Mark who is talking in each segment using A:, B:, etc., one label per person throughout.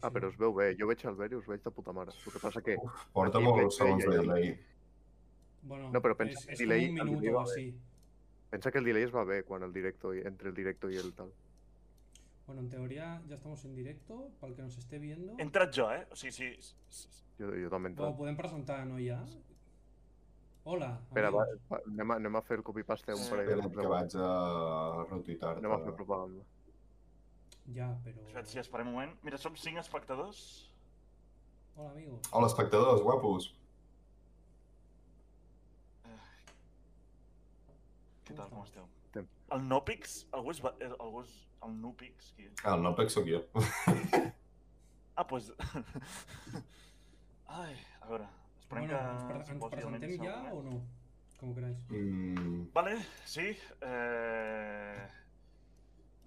A: Ah, però es veu bé. Jo veig el verd i us veig de puta mare. El que passa que...
B: Uf, porta
A: Aquí veig
B: molts segons
A: ella
B: de
A: i-
B: delay.
C: Bueno,
A: No, pero pensa
C: es,
A: que
C: es
A: delay
C: como un
A: al
C: minuto
A: video,
C: o
A: eh.
C: así.
A: Pensa que el delay es va bé quan el directo i, entre el directo i el tal.
C: Bueno, en teoría ya estamos en directo, para el que nos esté viendo.
D: He entrat jo, eh? O sigui, sí, s- s-
A: Jo, jo també he
C: O
A: entrat.
C: podem presentar, no, ja? Hola,
A: Espera, va,
C: amigos.
A: va, anem, a, anem a fer el copy-paste un parell de
B: Espera't que
A: cops.
B: vaig a retuitar-te.
A: Anem a fer propaganda.
C: Ya, pero...
D: espera't, sí, esperem un moment. Mira, som cinc espectadors.
C: Hola, amigos.
D: Ah,
B: Hola, espectadors, guapos.
D: Què tal, com esteu?
A: Tem-
D: El Nopix? Algú és... va- eh, Algú és... El Nupix? Qui és?
B: Ah, el Nopex sóc jo.
D: Ah, doncs... Ai, a veure... Esperem
C: Bueno,
D: que...
C: ens, pre- ens
D: es posi almenys
C: presentem
D: en
C: ja
D: moment.
C: o no? Com queráis.
B: Mm,
D: eh? Vale, sí. Eh...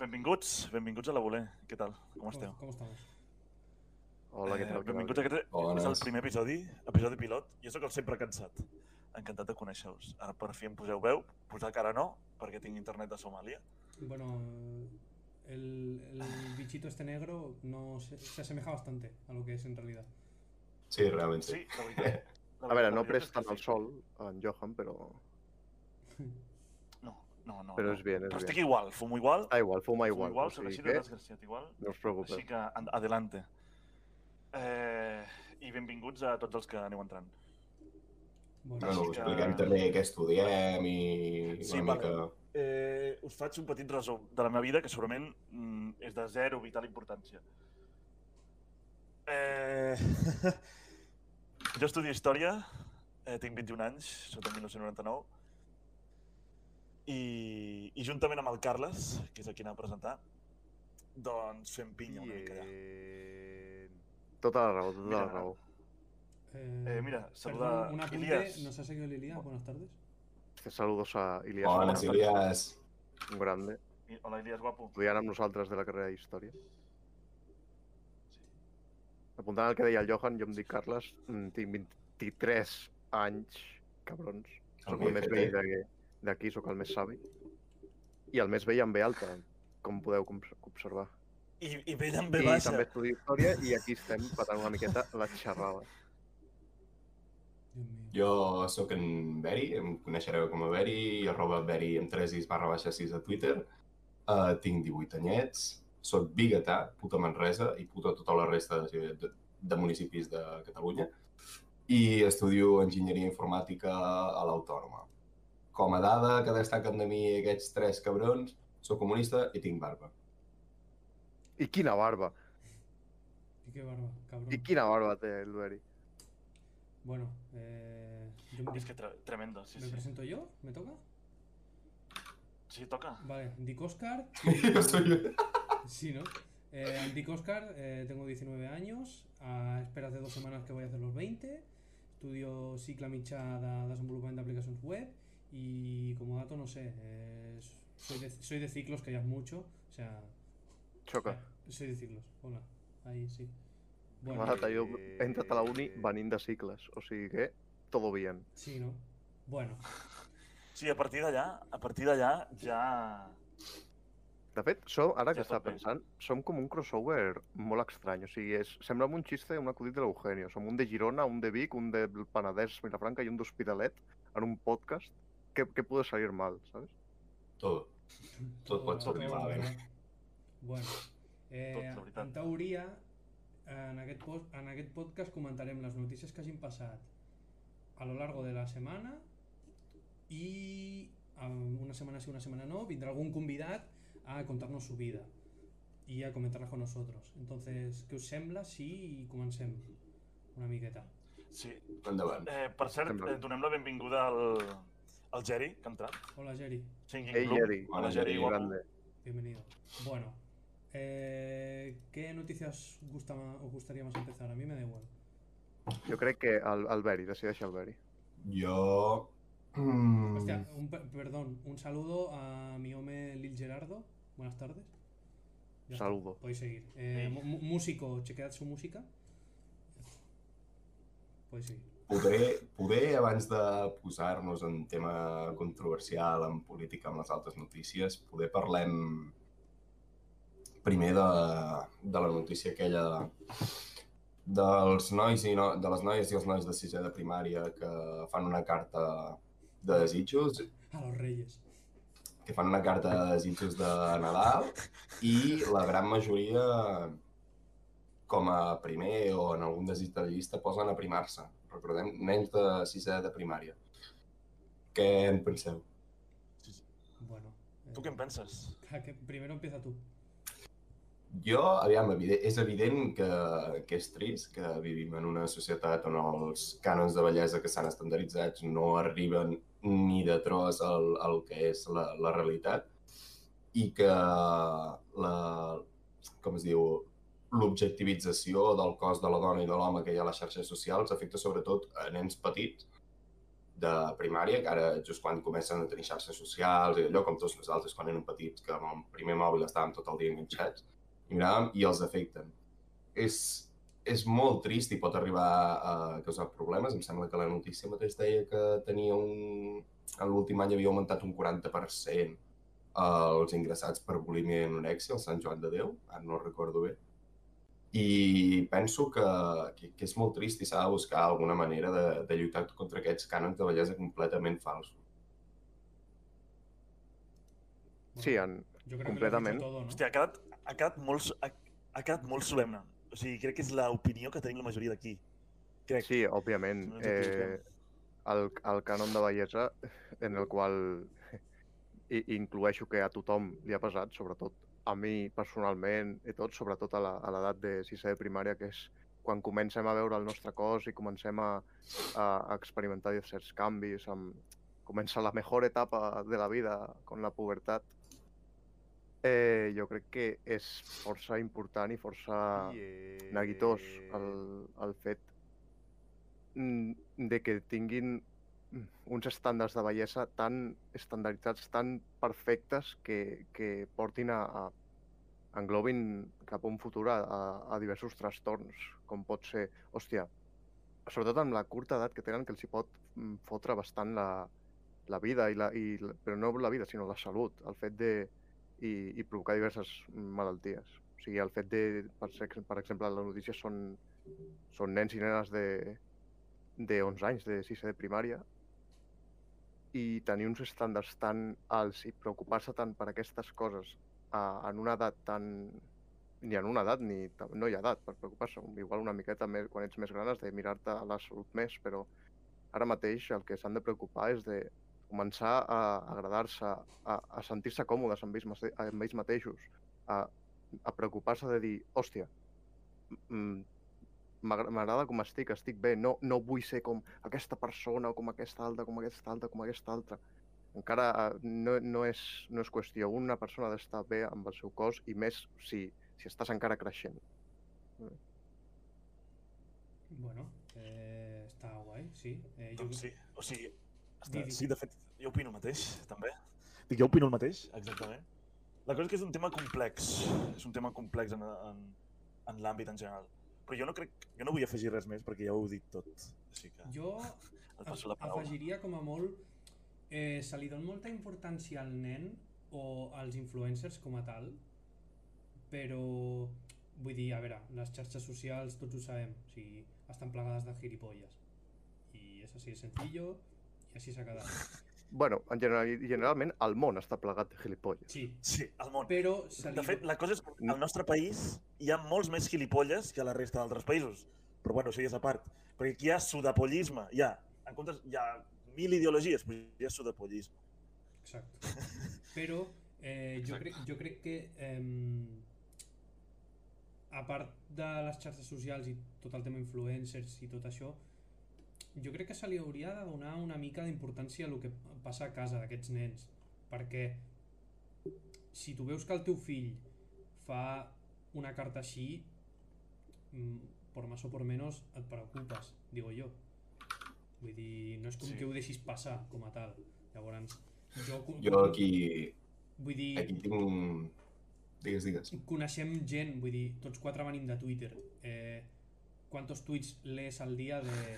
D: Benvinguts, benvinguts a la Voler. Què tal? Com esteu?
C: ¿Cómo, cómo estamos?
A: Hola, què tal?
D: Eh, benvinguts a aquest...
B: Bones.
D: És el primer episodi, episodi pilot. Jo sóc el sempre cansat. Encantat de conèixer-vos. Ara per fi em poseu veu, posar cara no, perquè tinc internet de Somàlia.
C: Bueno, el, el bichito este negro no se, se asemeja bastante a lo que es en realidad.
B: sí, realment sí.
D: Sí, la veritat. La
A: Eh, A veure,
D: veritat
A: no
D: és
A: pres
D: que
A: tant el
D: sí.
A: sol en Johan, però...
D: No, no, no.
A: Però
D: no.
A: és bien, és
D: Però estic
A: bien.
D: igual, fumo igual,
A: Ah, igual, fuma
D: fumo
A: igual.
D: igual,
A: o
D: sóc
A: sigui
D: així de
A: que
D: desgraciat igual.
A: No us preocupeu.
D: Així que, an- adelante. Eh, I benvinguts a tots els que aneu entrant.
C: Bueno, Eh,
B: Bueno,
D: Sí que-
B: expliquem també què estudiem i
D: Sí,
B: una
D: vale.
B: mica...
D: Eh, us faig un petit resum de la meva vida que segurament mm, és de zero vital importància. Eh... jo estudio Història, eh, tinc 21 anys, soc del 1999, i, i juntament amb el Carles, que és el qui anava a presentar, doncs fem pinya una mica allà.
A: I... Tota la raó, tota
D: eh, Mira,
A: la raó.
C: eh,
D: eh, mira, saluda
C: perdón, un apunte.
D: Ilias.
C: Nos ha seguido el Ilias. Buenas tardes.
A: Que Este, saludos a Ilias.
B: Bones, Ilias.
A: Un grande.
D: I- Hola, Ilias, guapo.
A: Estudiant amb nosaltres de la carrera d'Història. Apuntant al que deia el Johan, jo em dic Carles, mm, tinc 23 anys, cabrons. Soc el més vell
B: Vietete.
A: de- d'aquí, sóc el més savi. I el més vell amb B alta, com podeu com- observar.
D: I, i ve amb
A: I
D: B baixa.
A: també estudio Història i aquí estem patant una miqueta la xerrada.
C: Dios mío.
B: Jo sóc en Beri, em coneixereu com a Beri, arroba Beri amb 3 is barra baixa 6 a Twitter. Uh, tinc 18 anyets, sóc biguetà, puta Manresa i puta tota la resta de, ciu- de, de municipis de Catalunya. I estudio enginyeria informàtica a l'Autònoma. Com a dada que destaquen de mi aquests tres cabrons, sóc comunista i tinc barba.
A: I quina barba,
C: Y qué barba, cabrón.
A: i quina barba té el Beri.
C: Bueno, eh, yo me,
D: És que tre tremendo, sí,
C: ¿me
D: sí.
C: presento yo? ¿Me toca?
D: Sí, toca.
C: Vale, Dick Oscar,
B: Jo soy...
C: Sí, ¿no? Eh, Dick Oscar, eh, tengo 19 años, a esperas de dos semanas que voy a hacer los 20, estudio cicle mitjà de desenvolupament d'aplicacions web y como dato, no sé, eh, soy, de, soy de ciclos, que ya es mucho, o sea,
A: Xoca.
C: soy de ciclos, hola, ahí sí. Bueno,
A: M'ha jo he entrat a la uni venint de cicles, o sigui que todo bien.
C: sí, ¿no? Bueno,
D: Sí, a partir d'allà, a partir d'allà ja...
A: De fet, som, ara
D: Ja
A: que
D: es pot
A: estava
D: fer.
A: pensant, som com un crossover molt estrany. O sigui, és, sembla un xiste, un acudit de l'Eugenio. Som un de Girona, un de Vic, un de Penedès, Vilafranca i un d'Hospitalet en un podcast. Què, què pot salir mal, saps?
B: Todo. Tot pot sortir
C: tot,
B: malament.
C: tot. Bueno, eh,
D: Tot, la veritat.
C: en teoria, en aquest, pos- en aquest podcast comentarem les notícies que hagin passat a lo largo de la setmana i em, una setmana sí, una setmana no, vindrà algun convidat a contar-nos su vida i a comentar-la con nosotros. Entonces, què us sembla si comencem una miqueta?
D: Sí.
B: Endavant.
D: Eh, per cert,
A: Sembla bé.
D: eh, donem la benvinguda al, al Geri, que ha entrat.
C: Hola, Jerry.
D: Singing
A: Ei,
D: Club.
A: Jerry.
B: Hola,
D: Hola, Jerry,
B: Jerry,
D: guapo.
A: grande.
C: Bienvenido. Bueno, eh, ¿qué noticias gusta ma- os gustaría más empezar? A mí me da igual.
A: Jo crec que el, el Beri, decideix el Beri.
B: Jo... Mm.
C: Hostia, un per- perdón, un saludo a mi home Lil Gerardo. Buenas tardes. Ya está,
A: Saludo.
C: podéis seguir. Eh,
D: Sí.
C: mu- mu- músico, chequead su música. Podéis seguir.
B: Poder, poder abans de posar-nos en tema controversial, en política, amb les altres notícies, poder parlem primer de, de la notícia aquella de, dels nois i no, de les noies i els nois de sisè de primària que fan una carta de desitjos,
C: A los Reyes.
B: que fan una carta de desitjos de Nadal i la gran majoria com a primer o en algun desig de la llista posen a primar-se. Recordem, nens de sisè de primària. Què en penseu?
C: Bueno. eh,
D: Tu què en penses?
C: a que primero empieza tú.
B: Jo, aviam, evide- és evident que, que és trist que vivim en una societat on els cànons de bellesa que s'han estandarditzats no arriben ni de tros al, al que és la, la realitat i que la, com es diu, l'objectivització del cos de la dona i de l'home que hi ha a les xarxes socials afecta sobretot a nens petits de primària, que ara just quan comencen a tenir xarxes socials i allò, com tots nosaltres quan érem petits, que amb el primer mòbil estàvem tot el dia enganxats, i miràvem i els afecten. És, és molt trist i pot arribar a causar problemes. Em sembla que la notícia mateix deia que tenia un... En l'últim any havia augmentat un 40% els ingressats per bulímia i anorèxia al Sant Joan de Déu, ara no recordo bé. I penso que, que, que és molt trist i s'ha de buscar alguna manera de, de lluitar contra aquests cànons de bellesa completament falsos.
A: Sí, en...
C: Yo creo
A: completament.
C: que lo has dicho todo, ¿no?
D: Hòstia, ha quedat, ha quedat, molt, so- ha, ha quedat molt solemne. O sigui, crec que és l'opinió que tenim la majoria d'aquí. Crec.
A: sí, òbviament.
D: No ens
A: Eh,
D: equivoquem.
A: el, el cànon de bellesa en el qual i, inclueixo que a tothom li ha pesat, sobretot a mi personalment i tot, sobretot a la- a l'edat de sisè de primària, que és quan comencem a veure el nostre cos i comencem a, a experimentar certs canvis, amb... comença la millor etapa de la vida, con la pubertat. Eh, jo crec que és força important i força neguitós el, el fet mm, de que tinguin mm, uns estàndards de bellesa tan estandarditzats, tan perfectes que, que portin a, a englobin cap a un futur a, a, a diversos trastorns, com pot ser, hòstia, sobretot amb la curta edat que tenen, que els hi pot mm, fotre bastant la, la vida, i la, i, la- però no la vida, sinó la salut, el fet de... i, i provocar diverses malalties. O sigui, el fet de, per, ex- per exemple, les notícies són, són nens i nenes de, de 11 anys, de 6 de primària, i tenir uns estàndards tan alts i preocupar-se tant per aquestes coses a, en una edat tan... ni en una edat, ni ta- no hi ha edat per preocupar-se. Igual una miqueta més, quan ets més gran has de mirar-te la salut més, però ara mateix el que s'han de preocupar és de començar a agradar-se, a, a sentir-se còmodes amb ells, mate- amb ells mateixos, a, a preocupar-se de dir, hòstia, mm, m'agra- m'agrada com estic, estic bé, no, no vull ser com aquesta persona, o com aquesta altra, com aquesta altra, com aquesta altra. Encara eh, no, no, és, no és qüestió. Una persona ha d'estar bé amb el seu cos i més si, si estàs encara creixent.
C: Bueno, eh, está guay, sí. Eh, yo-
D: Doncs sí. O sigui,
C: Di,
D: està,
C: di.
D: sí, de fet, jo opino el mateix, també. Dic, jo opino el mateix, exactament. La cosa és que és un tema complex. És un tema complex en, en, en l'àmbit en general. Però jo no crec... Jo no vull afegir res més perquè ja ho heu dit tot. Així que
C: Jo
D: et passo la paraula.
C: afegiria com a molt... Eh, se li don molta importància al nen o als influencers com a tal, però vull dir, a veure, les xarxes socials tots ho sabem, o sigui, estan plagades de gilipolles. I és així de sencillo i així s'ha quedat.
A: Bueno, en general, generalment el món està plegat de gilipolles.
C: Sí,
D: Sí, el món.
C: però se li...
D: De fet, la cosa és que al nostre país hi ha molts més gilipolles que a la resta d'altres països. Però bueno, això ja és a part. Perquè aquí hi ha sudapollisme, hi ha. En comptes, hi ha mil ideologies, però hi ha sudapollisme.
C: Exacto. Pero eh, jo, crec, jo crec que em, a part de les xarxes socials i tot el tema influencers i tot això, jo crec que se li hauria de donar una mica d'importància a el que passa a casa d'aquests nens. Perquè si tu veus que el teu fill fa una carta així, mm, por más o por menos et preocupes, digo jo. Vull dir, no és com
D: Sí.
C: que ho deixis passar com a tal. Llavors, jo,
B: Jo aquí,
C: Vull dir,
B: aquí tinc... un- Digues, digues.
C: coneixem gent, vull dir, tots quatre venim de Twitter. Eh, ¿Cuántos tweets lees al día de...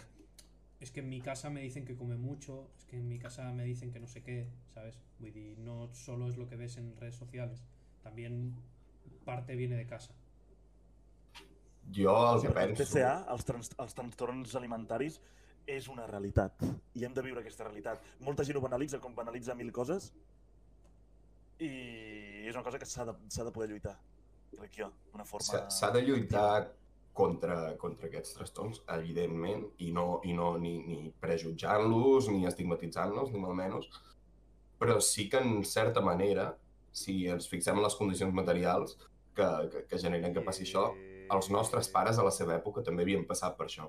C: Es que en mi casa me dicen que come mucho, es que en mi casa me dicen que no sé qué, ¿sabes? Vull dir, no solo es lo que ves en redes sociales, también parte viene de casa.
B: Jo el que
D: El
B: penso...
D: TCA, els, trans, els trastorns alimentaris, és una realitat. I hem de viure aquesta realitat. Molta gent ho banalitza, com banalitza mil coses, i és una cosa que s'ha de, s'ha de poder lluitar, crec jo, d'una forma...
B: S'ha s'ha de lluitar contra, contra aquests trastorns, evidentment, i no, i no ni, ni prejutjant-los, ni estigmatitzant-los, ni malmenys, però sí que, en certa manera, si ens fixem en les condicions materials que, que, que generen que passi això, els nostres pares a la seva època també havien passat per això.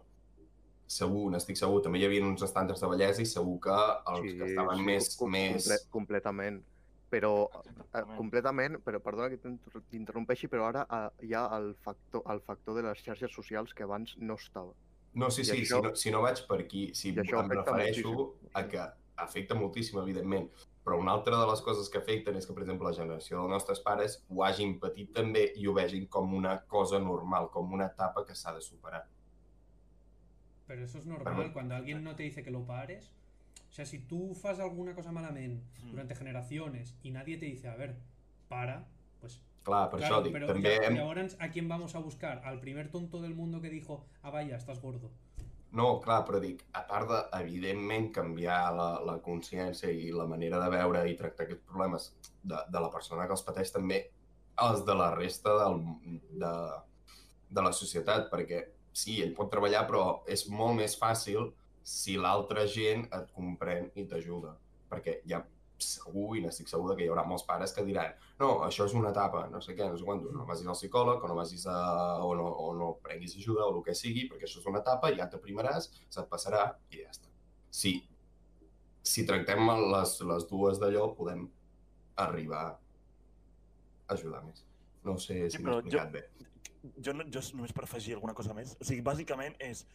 B: Segur, n'estic segur, també hi havia uns estàndards de bellesa i segur que els que estaven més...
A: com-
B: més...
A: comple- completament. Però, eh,
D: Exactament.
A: completament, però perdona que t'inter- t'interrompeixi, però ara eh, hi ha el factor, el factor de les xarxes socials que abans no estava.
B: No, sí,
A: I
B: sí,
A: això-
B: si, no, si no vaig per aquí, si
A: I això
B: em
A: afecta
B: refereixo
A: moltíssim.
B: a que afecta moltíssim, evidentment, però una altra de les coses que afecten és que, per exemple, la generació dels nostres pares ho hagin patit també i ho vegin com una cosa normal, com una etapa que s'ha de superar.
C: Pero eso es normal,
B: Bueno.
C: cuando alguien no te dice que lo pares. O sea, si tú haces alguna cosa malamente
D: Mm.
C: durante generaciones y nadie te dice, a ver, para, pues
B: Clar, per
C: claro,
B: això dic,
C: pero
B: també
C: ya-
B: hem,
C: y ahora a quién vamos a buscar? Al primer tonto del mundo que dijo, ah, vaya, estás gordo.
B: No, clar, però dic, a part de, evidentment, canviar la, la consciència i la manera de veure i tractar aquests problemes de, de la persona que els pateix, també els de la resta del, de, de la societat, perquè sí, ell pot treballar, però és molt més fàcil si l'altra gent et comprèn i t'ajuda. Perquè ja segur i n'estic segur que hi haurà molts pares que diran no, això és una etapa, no sé què, no sé quant, no vagis al psicòleg o no vagis a... o no, o no prenguis ajuda o el que sigui, perquè això és una etapa, ja t'aprimaràs, se't passarà i ja està. Si, si tractem les, les dues d'allò, podem arribar a ajudar més. No sé
D: Sí,
B: si
D: però
B: m'he explicat bé.
D: Jo, no, jo només per afegir alguna cosa més. O sigui, bàsicament és...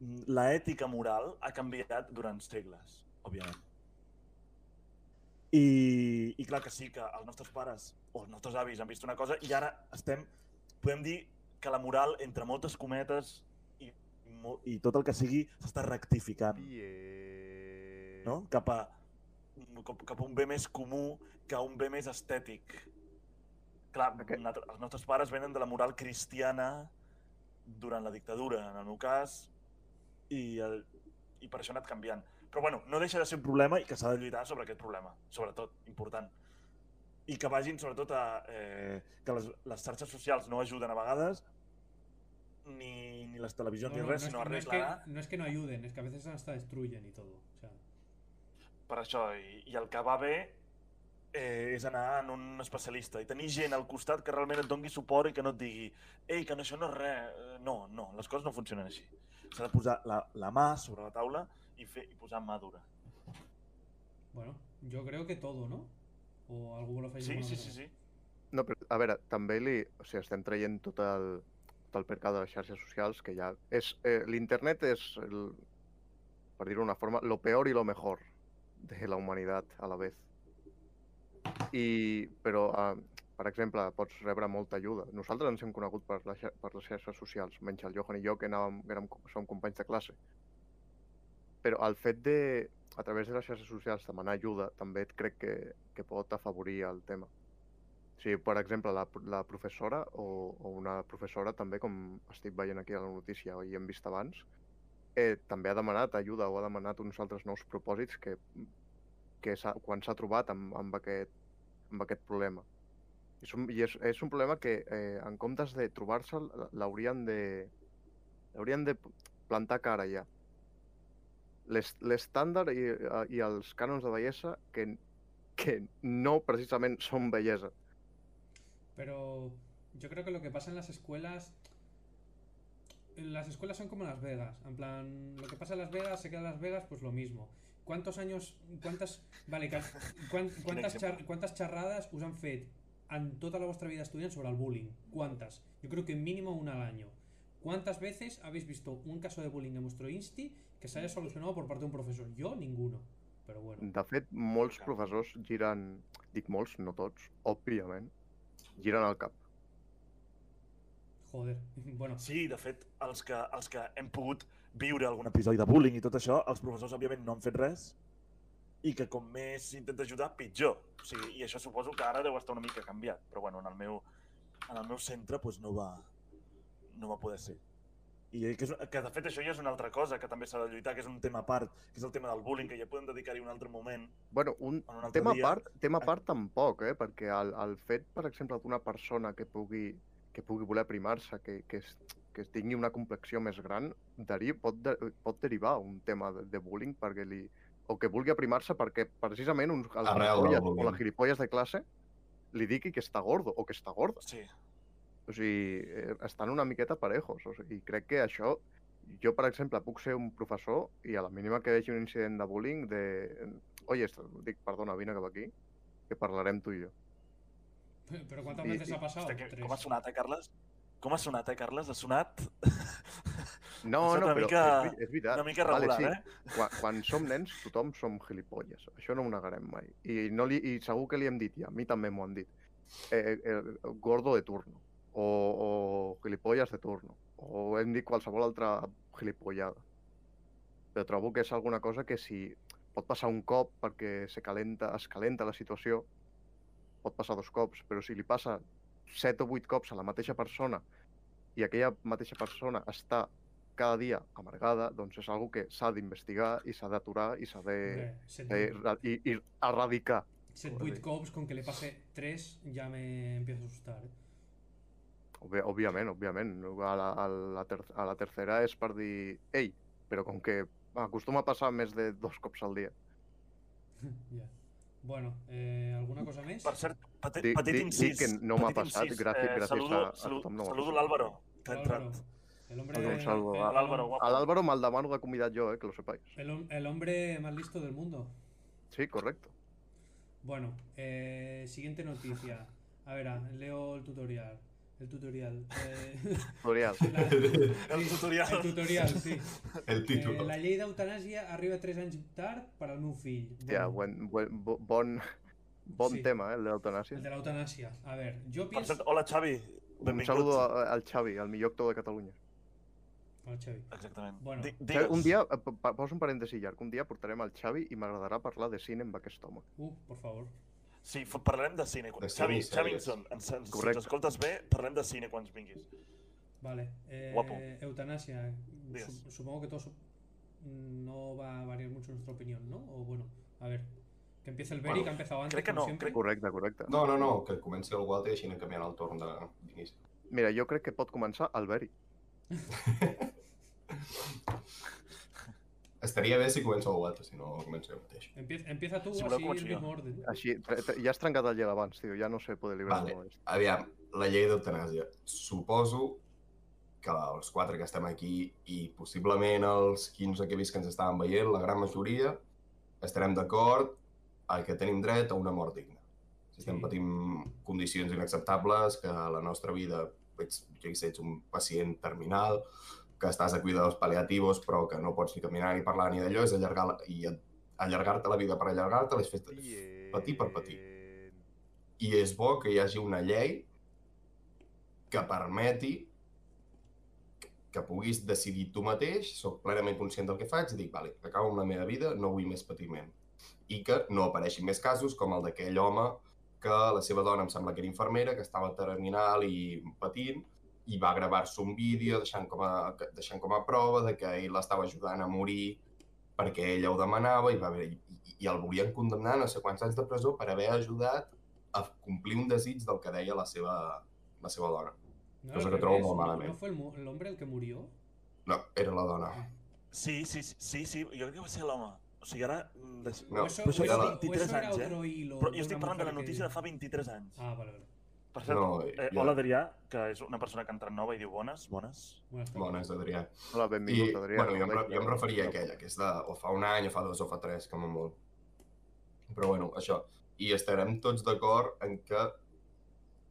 D: mm, La ètica moral ha canviat durant segles, òbviament. I, I clar que sí, que els nostres pares o els nostres avis han vist una cosa i ara estem... Podem dir que la moral, entre moltes cometes i, mo- i tot el que sigui, s'està rectificant
A: Bien.
D: no? cap, a, cap, cap a un bé més comú que a un bé més estètic. Clar,
A: Aquest-
D: nat- els nostres pares venen de la moral cristiana durant la dictadura, en el meu cas, i, el, i per això ha anat canviant. Però bueno, no deixa de ser un problema i que s'ha de lluitar sobre aquest problema, sobretot, important. I que vagin sobretot a... Eh, que les, les xarxes socials no ajuden a vegades, ni, ni les
C: No,
D: televisions
C: no,
D: ni
C: no
D: res,
C: es,
D: sinó
C: que- no es
D: arreglar...
C: que, no es que no ayuden, es que a veces hasta destruyen y todo. O sea,
D: per això, i, i el que va bé eh, és anar en un especialista i tenir gent al costat que realment et doni suport i que no et digui ei, que no, això no és res, Eh, no, no, les coses no funcionen així. S'ha de posar la, la mà sobre la taula i, fer, i posar mà dura.
C: bueno, yo creo que todo, ¿no? O algo lo
D: Sí, sí, sí, sí.
A: No, però, a veure, també li... O sigui, estem traient tot el, tot el percal de les xarxes socials, que ja... És, eh, L'internet és, el, per dir-ho d'una forma, lo peor i lo mejor de la humanitat a la vez. I, però, eh, per exemple, pots rebre molta ajuda. Nosaltres ens hem conegut per, la, xar- per les xarxes socials, menys el Johan i jo, que, anàvem, que érem, co- som companys de classe. Però el fet de, a través de les xarxes socials, demanar ajuda, també crec que, que pot afavorir el tema. Sí, per exemple, la, la professora o, o una professora també, com estic veient aquí a la notícia i hem vist abans, eh, també ha demanat ajuda o ha demanat uns altres nous propòsits que, que s'ha- quan s'ha trobat amb, amb, aquest, amb aquest problema. És un, I és, és un problema que, eh, en comptes de trobar-se'l, l'haurien de, l'haurien de plantar cara ja. L'es- L'estàndard i, eh, i els cànons de bellesa que, que no precisament són bellesa.
C: Pero yo creo que lo que pasa en las escuelas. Las escuelas son como Las Vegas. En plan, lo que pasa en Las Vegas se queda en Las Vegas, pues lo mismo. ¿Cuántos años. cuántas. Vale, ca- cuán- cuántas,
D: exemple.
C: char- cuántas charradas usan FED en toda la vuestra vida estudiant sobre el bullying? ¿Cuántas? Yo creo que mínimo una al año. ¿Cuántas veces habéis visto un caso de bullying en vuestro insti que se haya solucionado por parte de un profesor? Yo, ninguno. Pero bueno.
D: Mm.
A: De fet, molts
D: Clar.
A: professors giren, dic molts, no tots, òbviament, giren el cap.
C: Joder. Bueno,
D: Sí, de fet, els que, els que hem pogut viure algun episodi de bullying i tot això, els professors, òbviament, no han fet res i que com més s'intenta ajudar, pitjor. O sigui, I això suposo que ara deu estar una mica canviat, però bueno, en el meu, en el meu centre doncs, no, va, no va poder ser. I que, és, que de fet això ja és una altra cosa que també s'ha de lluitar, que és un tema a part, que és el tema del bullying, que ja podem dedicar-hi un altre moment.
A: Bueno, un,
D: En un altre
A: tema a
D: dia.
A: part, tema a part tampoc, eh? perquè el, el fet, per exemple, d'una persona que pugui, que pugui voler aprimar-se, que, que, es, que tingui una complexió més gran, deri, pot, de, pot derivar un tema de, de bullying perquè li, o que vulgui aprimar-se perquè precisament uns, els
B: Arrel del
A: gilipolles o
B: bullying.
A: les gilipolles de classe li digui que està gordo o que està gorda.
D: Sí,
A: O sigui, eh, estan una miqueta parejos. O sigui, crec que això... Jo, per exemple, puc ser un professor i a la mínima que vegi un incident de bullying de... Oye, esto- dic, perdona, vine cap aquí, que parlarem tu i jo.
C: Pero ¿cuántas
A: Y-
C: veces
A: y-
C: ha pasado?
D: Hòstia, que,
C: Tres.
D: com ha sonat, eh, Carles? Com ha sonat, eh, Carles? Ha sonat
A: No,
D: És
A: no,
D: una
A: però
D: mica-
A: és, vi- és veritat.
D: una mica regular,
A: vale, sí.
D: eh?
A: Quan, quan som nens, tothom som gilipolles. Això no ho negarem mai. I, no li, i segur que li hem dit, i a mi també m'ho han dit, eh, eh, el gordo de turno, o, o gilipolles de turno, o hem dit qualsevol altra gilipollada. Però trobo que és alguna cosa que si pot passar un cop perquè se calenta, es calenta la situació, pot passar dos cops, però si li passa set o vuit cops a la mateixa persona i aquella mateixa persona està cada dia amargada, doncs és algo que s'ha d'investigar i s'ha d'aturar i s'ha de,
D: Eh,
C: Hombre, set-
A: de, ra- i, i erradicar.
C: set
A: joder.
C: buit cops con que le pase tres ya me empiezo a asustar. ¿eh?
A: Obvi òbviament, òbviament. A la, a, la ter a la tercera és per dir ei, però com que acostuma a passar més de dos cops al dia.
C: Ya. Bueno, eh, ¿alguna cosa més?
D: Per cert, petit,
A: Dic-
D: petit
A: dic-
D: incís.
A: dic que no m'ha
D: petit
A: passat,
D: incís.
A: gràcies- gràcies
D: Eh, saludo,
A: a- a
D: saludo,
A: tothom, no m'ha
D: saludo
A: passat.
D: l'Àlvaro, que ha
C: Álvaro,
D: entrat.
C: El hombre,
A: Álvaro,
C: el-
A: salvo,
C: el-
A: va.
D: L'Àlvaro,
A: A
D: guapo.
A: l'Àlvaro me'l demano de convidat jo, eh, que lo sepáis.
C: el hom- el hombre más listo del mundo.
A: Sí, correcto.
C: Bueno, eh, siguiente noticia. A ver, ah, leo el tutorial. El tutorial. Eh,
A: Tutorial.
C: la-
D: El tutorial.
C: el tutorial, sí.
B: El títol.
C: Eh, la llei d'eutanàsia arriba 3 anys tard per al meu fill.
A: Hòstia,
C: Bueno,
A: buen, buen, bo- bon, bon
C: Sí.
A: tema, eh, el de
C: El
A: l'eutanàsia.
C: de l'eutanàsia. A veure, jo
D: Per
C: penso...
D: cert, hola, Xavi.
A: Un
D: Benvingut.
A: saludo a- al Xavi, al millor actor de Catalunya.
C: Hola, Xavi.
D: Exactament.
C: Bueno.
D: Di-
A: Xavi,
D: Digues.
A: Un dia, eh, pa- pa- poso un parèntesi llarg, un dia portarem al Xavi i m'agradarà parlar de cine amb aquest home.
C: Uh, por favor.
D: Sí, fa- parlarem de cine. Quan...
B: De cine i
D: Xavi,
B: sèries.
D: Xavinson, ens, ens, si
A: Correcte.
D: ens escoltes bé, parlem de cine quan vinguis.
C: Vale. Eh,
D: Guapo.
C: Eutanasia.
D: Digas.
C: Su- supongo que todo su- no va a variar mucho nuestra opinión, ¿no? O bueno, a ver. Que empiece el Beri,
B: Bueno,
C: que ha empezado antes,
D: crec que
C: como
D: no,
C: siempre.
A: Correcte, correcte.
B: No, no, no, que comenci el Walter i així anem canviant el torn de- d'inici.
A: Mira, jo crec que pot començar al Beri.
B: Estaria bé si comença el Walter, si no comença jo mateix.
C: Empie- Empieza tú,
D: Si voleu,
C: así en
D: començo
C: el
D: jo.
C: mismo orden.
B: Ah,
A: Així, te- te- ja has trencat el gel abans, tio, ja no sé poder liberar
B: Vale.
A: vale. és.
B: Aviam, la llei d'eutanàsia. Suposo que els quatre que estem aquí i possiblement els 15 que he vist que ens estaven veient, la gran majoria, estarem d'acord a que tenim dret a una mort digna. Si estem
C: Sí.
B: patint condicions inacceptables, que a la nostra vida ets, jo què sé, ets un pacient terminal, que estàs a cuidadors paliativos però que no pots ni caminar ni parlar ni d'allò, és allargar la, i allargar-te la vida per allargar-te, les festes... Patir per patir. i és bo que hi hagi una llei que permeti que puguis decidir tu mateix, sóc plenament conscient del que faig, i dic, vale, acabo amb la meva vida, no vull més patiment. I que no apareixin més casos com el d'aquell home que la seva dona, em sembla que era infermera, que estava terminal i patint, i va gravar-se un vídeo deixant com, a, deixant com a prova de que ell l'estava ajudant a morir perquè ella ho demanava i, va haver, i, i el volien condemnar a no sé quants anys de presó per haver ajudat a complir un desig del que deia la seva, la seva dona.
C: No,
B: Cosa
C: al
B: que trobo
C: revés,
B: molt
C: ¿no-
B: malament.
C: ¿No fue el, mu- el hombre el que murió? Eh,
B: No, era la dona.
D: Sí, sí, sí, sí, sí, jo crec que va ser l'home. O sigui, ara... mm, des-
B: No,
C: o eso,
D: però això
C: o
D: era
C: eso-
D: fa
C: o eso
D: 23
C: era
D: anys, eh?
C: otro hilo.
D: Però
C: de
D: jo estic
C: una
D: parlant de la
C: mujer que-
D: notícia de fa 23 anys.
C: Ah, vale, vale.
D: Per cert,
B: No,
D: eh,
B: ja-
D: hola Adrià, que és una persona que ha entrat nova i diu bones, bones.
C: Buenas tardes.
B: Bones, Adrià.
A: Hola,
B: I,
A: benvingut, Adrià.
B: bueno, jo, em, re- jo em referia a aquella, que és de o fa un any, o fa dos, o fa tres, com a molt. Però bueno, això. I estarem tots d'acord en que